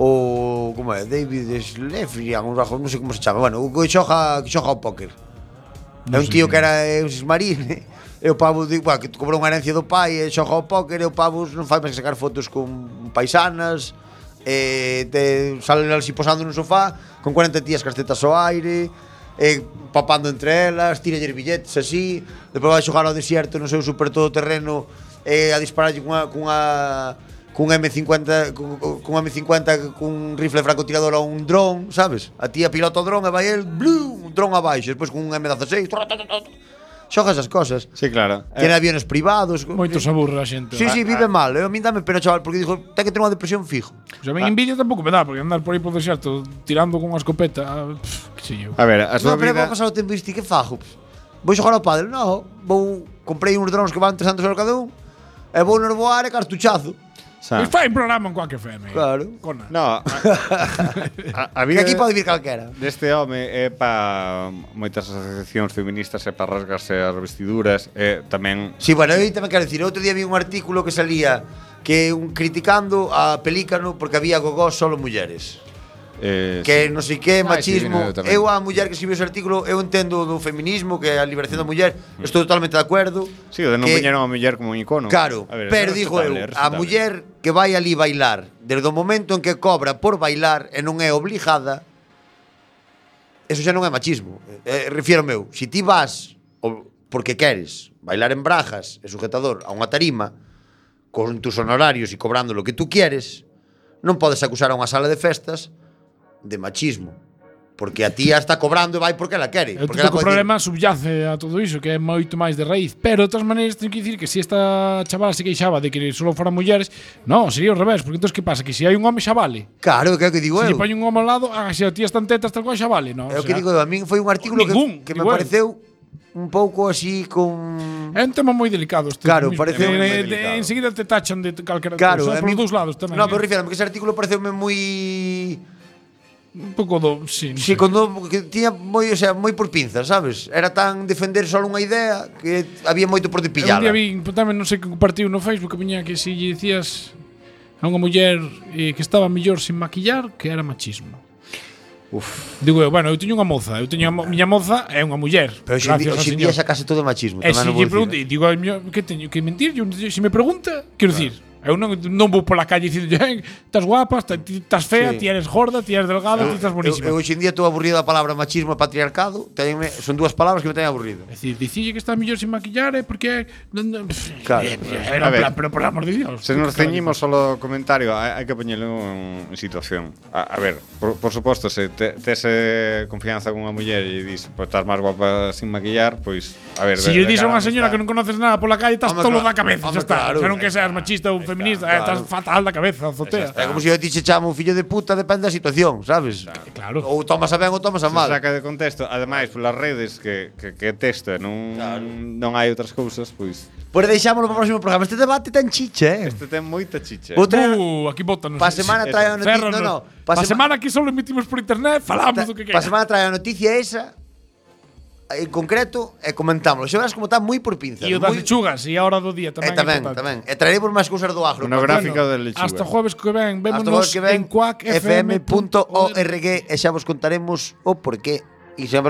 Speaker 2: o como é, David Schleifrian, un rajo, non sei como se chama. Bueno, o que xoga, que xoga ao póker. É un tío que era eh, un marine. E o pavo di, bueno, que cobrou unha herencia do pai e xoga ao póker e o pavo non fai máis que sacar fotos con paisanas e te salen así posando nun sofá con 40 tías castetas ao aire e papando entre elas, tiralle billetes así, despois vai xogar ao desierto no seu super todoterreno e a dispararlle cunha, cunha cun M50 cun, cun M50 cun rifle francotirador a un dron, sabes? A tía pilota o dron e vai el blum, un dron abaixo, despois cun M16. tra, tra, tra, tra. Xoga esas cosas.
Speaker 3: sí, claro.
Speaker 2: Tiene aviones privados.
Speaker 4: Moito se aburre a xente.
Speaker 2: Sí,
Speaker 3: eh,
Speaker 2: sí, vive mal. Eu a min dame pena, chaval, porque dijo, ten que ter unha depresión fijo.
Speaker 4: Pois a mí envidia tampouco me dá, porque andar por aí por deserto tirando con unha escopeta, ah, pff, que sei eu.
Speaker 3: Eh, A ver, a
Speaker 2: Non,
Speaker 3: súa
Speaker 2: pero
Speaker 3: vida...
Speaker 2: vou pasar o tempo isto, que fajo? Vou xogar ao pádel? Non, vou comprei uns drons que van 300 euros cada un e vou nos voar e cartuchazo.
Speaker 3: Xa.
Speaker 4: Pois fai un programa en cualquier FM.
Speaker 2: Claro.
Speaker 4: Cona.
Speaker 3: No, a, a, a
Speaker 2: Que
Speaker 3: vida
Speaker 2: aquí pode vir calquera.
Speaker 3: deste home é pa moitas asociacións feministas e pa rasgarse as vestiduras e tamén
Speaker 2: Sí, bueno, eu tamén quero dicir, outro día vi un artículo que salía que un, criticando a Pelícano porque había gogó solo mulleres.
Speaker 3: Eh,
Speaker 2: que non sei que,
Speaker 3: Ah, ese
Speaker 2: machismo.
Speaker 3: vídeo tamén.
Speaker 2: eu a muller que escribiu ese artículo, eu entendo do feminismo, que é a liberación da muller, estou totalmente de acuerdo.
Speaker 3: Mm. Sí, o de non
Speaker 2: que-
Speaker 3: viñeron a muller como un icono.
Speaker 2: Claro,
Speaker 3: A ver,
Speaker 2: pero
Speaker 3: é
Speaker 2: digo eu,
Speaker 3: respetable, é
Speaker 2: a
Speaker 3: respetable.
Speaker 2: muller que vai ali bailar, desde o momento en que cobra por bailar e non é obligada, eso xa non é machismo. Eh, refiérome eu, se ti vas o- porque queres bailar en brajas e sujetador a unha tarima, con tus honorarios e cobrando lo que tú quieres, non podes acusar a unha sala de festas de machismo. Porque a tía está cobrando e vai porque la quere.
Speaker 4: Eu
Speaker 2: porque ela
Speaker 4: creo que o
Speaker 2: pode
Speaker 4: problema subyace a todo iso, que é moito máis de raíz. Pero, de todas maneiras, teño que dicir que se esta chavala se queixaba de que solo foran mulleres, non, sería ao revés, porque entón que pasa? Que se hai un home xa vale.
Speaker 2: Decir, claro, que é o que digo eu.
Speaker 4: Se lle poñe un home ao lado, ah, se a tía están tetas, tal cual xa vale. Non,
Speaker 2: É o
Speaker 4: O
Speaker 2: que
Speaker 4: sea,
Speaker 2: digo eu. A min foi un artículo
Speaker 4: Ningún,
Speaker 2: que, que me
Speaker 4: igual.
Speaker 2: pareceu un pouco así con...
Speaker 4: É un tema moi delicado este.
Speaker 2: Claro,
Speaker 4: mismo.
Speaker 2: parece
Speaker 4: Eh,
Speaker 2: un-
Speaker 4: eh,
Speaker 2: moi
Speaker 4: de-
Speaker 2: delicado.
Speaker 4: Enseguida te tachan de calquera
Speaker 2: Claro, a
Speaker 4: cousa, por
Speaker 2: min-
Speaker 4: dos lados tamén.
Speaker 2: No,
Speaker 4: eh.
Speaker 2: pero refírame que ese artículo pareceume moi
Speaker 4: un pouco do, sí. non
Speaker 2: si
Speaker 4: sei.
Speaker 2: cuando que tiña moi, o sea, moi por pinzas, sabes? Era tan defender só unha idea que había moito por de
Speaker 4: Eu Un
Speaker 2: pillala.
Speaker 4: día vi, tamén non sei que compartiu no Facebook, que viña que se lle dicías a unha muller eh, que estaba mellor sin maquillar, que era machismo. Uf. Digo eu, bueno, eu teño unha moza, eu teño a mo- miña moza é unha muller.
Speaker 2: Pero hoxe en
Speaker 4: gracias
Speaker 2: día-
Speaker 4: ao
Speaker 2: hoxe en
Speaker 4: señor.
Speaker 2: día xa case todo é machismo,
Speaker 4: E
Speaker 2: tamén
Speaker 4: se
Speaker 2: non vou
Speaker 4: lle
Speaker 2: dicir.
Speaker 4: pregunto, e digo, "Ai, miña, que teño que mentir? Yo, se me pregunta, quero dicir, eu non, non vou pola calle dicindo, "Eh, estás guapa, estás- ti estás fea,
Speaker 2: Sí.
Speaker 4: ti eres gorda, ti eres delgada, ti estás
Speaker 2: Eu, eu
Speaker 4: bonísima.
Speaker 2: hoxe en día estou aburrido da palabra machismo e patriarcado, teñenme, son dúas palabras que me teñen aburrido.
Speaker 4: É dicir, dicille que está mellor sin maquillar é porque é...
Speaker 2: Claro.
Speaker 4: Eh,
Speaker 3: A
Speaker 4: Pero,
Speaker 3: ver.
Speaker 4: pero, pero por amor de Dios.
Speaker 3: Se nos ceñimos solo ao comentario, hai, hai que poñelo en, en situación. A, a ver, por, por suposto, se te, tes eh, confianza cunha muller e dis, pois estás máis guapa sin maquillar, pois, a ver...
Speaker 4: Si
Speaker 3: de-
Speaker 4: yo
Speaker 3: de
Speaker 4: dices a
Speaker 3: cara
Speaker 4: una señora
Speaker 3: amistad.
Speaker 4: que no conoces nada por la calle, estás
Speaker 2: Hombre,
Speaker 4: todo
Speaker 2: claro,
Speaker 4: da cabeza.
Speaker 2: hombre,
Speaker 4: Ya está.
Speaker 2: claro. eh.
Speaker 4: O sea, no que seas machista o feminista, eh,
Speaker 2: claro.
Speaker 4: estás fatal da cabeza, azotea.
Speaker 2: É como se eu ti che chamo fillo de puta, depende da situación, sabes?
Speaker 4: Claro.
Speaker 2: Ou tomas a ben ou tomas a
Speaker 3: Se
Speaker 2: mal.
Speaker 3: saca de contexto, ademais, polas redes que, que, que testa, non,
Speaker 2: Claro.
Speaker 3: non hai outras cousas, pois...
Speaker 2: Pois Pues deixámoslo para o próximo programa. Este debate tan chiche, eh.
Speaker 3: Este ten moita chicha.
Speaker 2: Vou traer-
Speaker 4: Uh, aquí botan.
Speaker 2: Pa semana
Speaker 3: Eso.
Speaker 2: trae a noticia. No, no. Pa,
Speaker 4: Para
Speaker 2: sema-
Speaker 4: semana aquí solo emitimos por internet, falamos do que
Speaker 2: Pa
Speaker 4: queira.
Speaker 2: semana trae a noticia esa en concreto e comentámoslo. Xa verás como está moi por pinzas.
Speaker 4: E o das
Speaker 2: moi...
Speaker 4: lechugas, e a hora do
Speaker 2: Eh,
Speaker 4: día tamén. é
Speaker 2: tamén,
Speaker 4: importante.
Speaker 2: tamén. E traeremos máis cousas do agro.
Speaker 3: Unha gráfica de lechuga.
Speaker 4: Hasta jueves que ven,
Speaker 2: Hasta logo
Speaker 4: vémonos
Speaker 2: que ven
Speaker 4: en quackfm.org.
Speaker 2: cuacfm.org e xa vos contaremos o porqué. E xa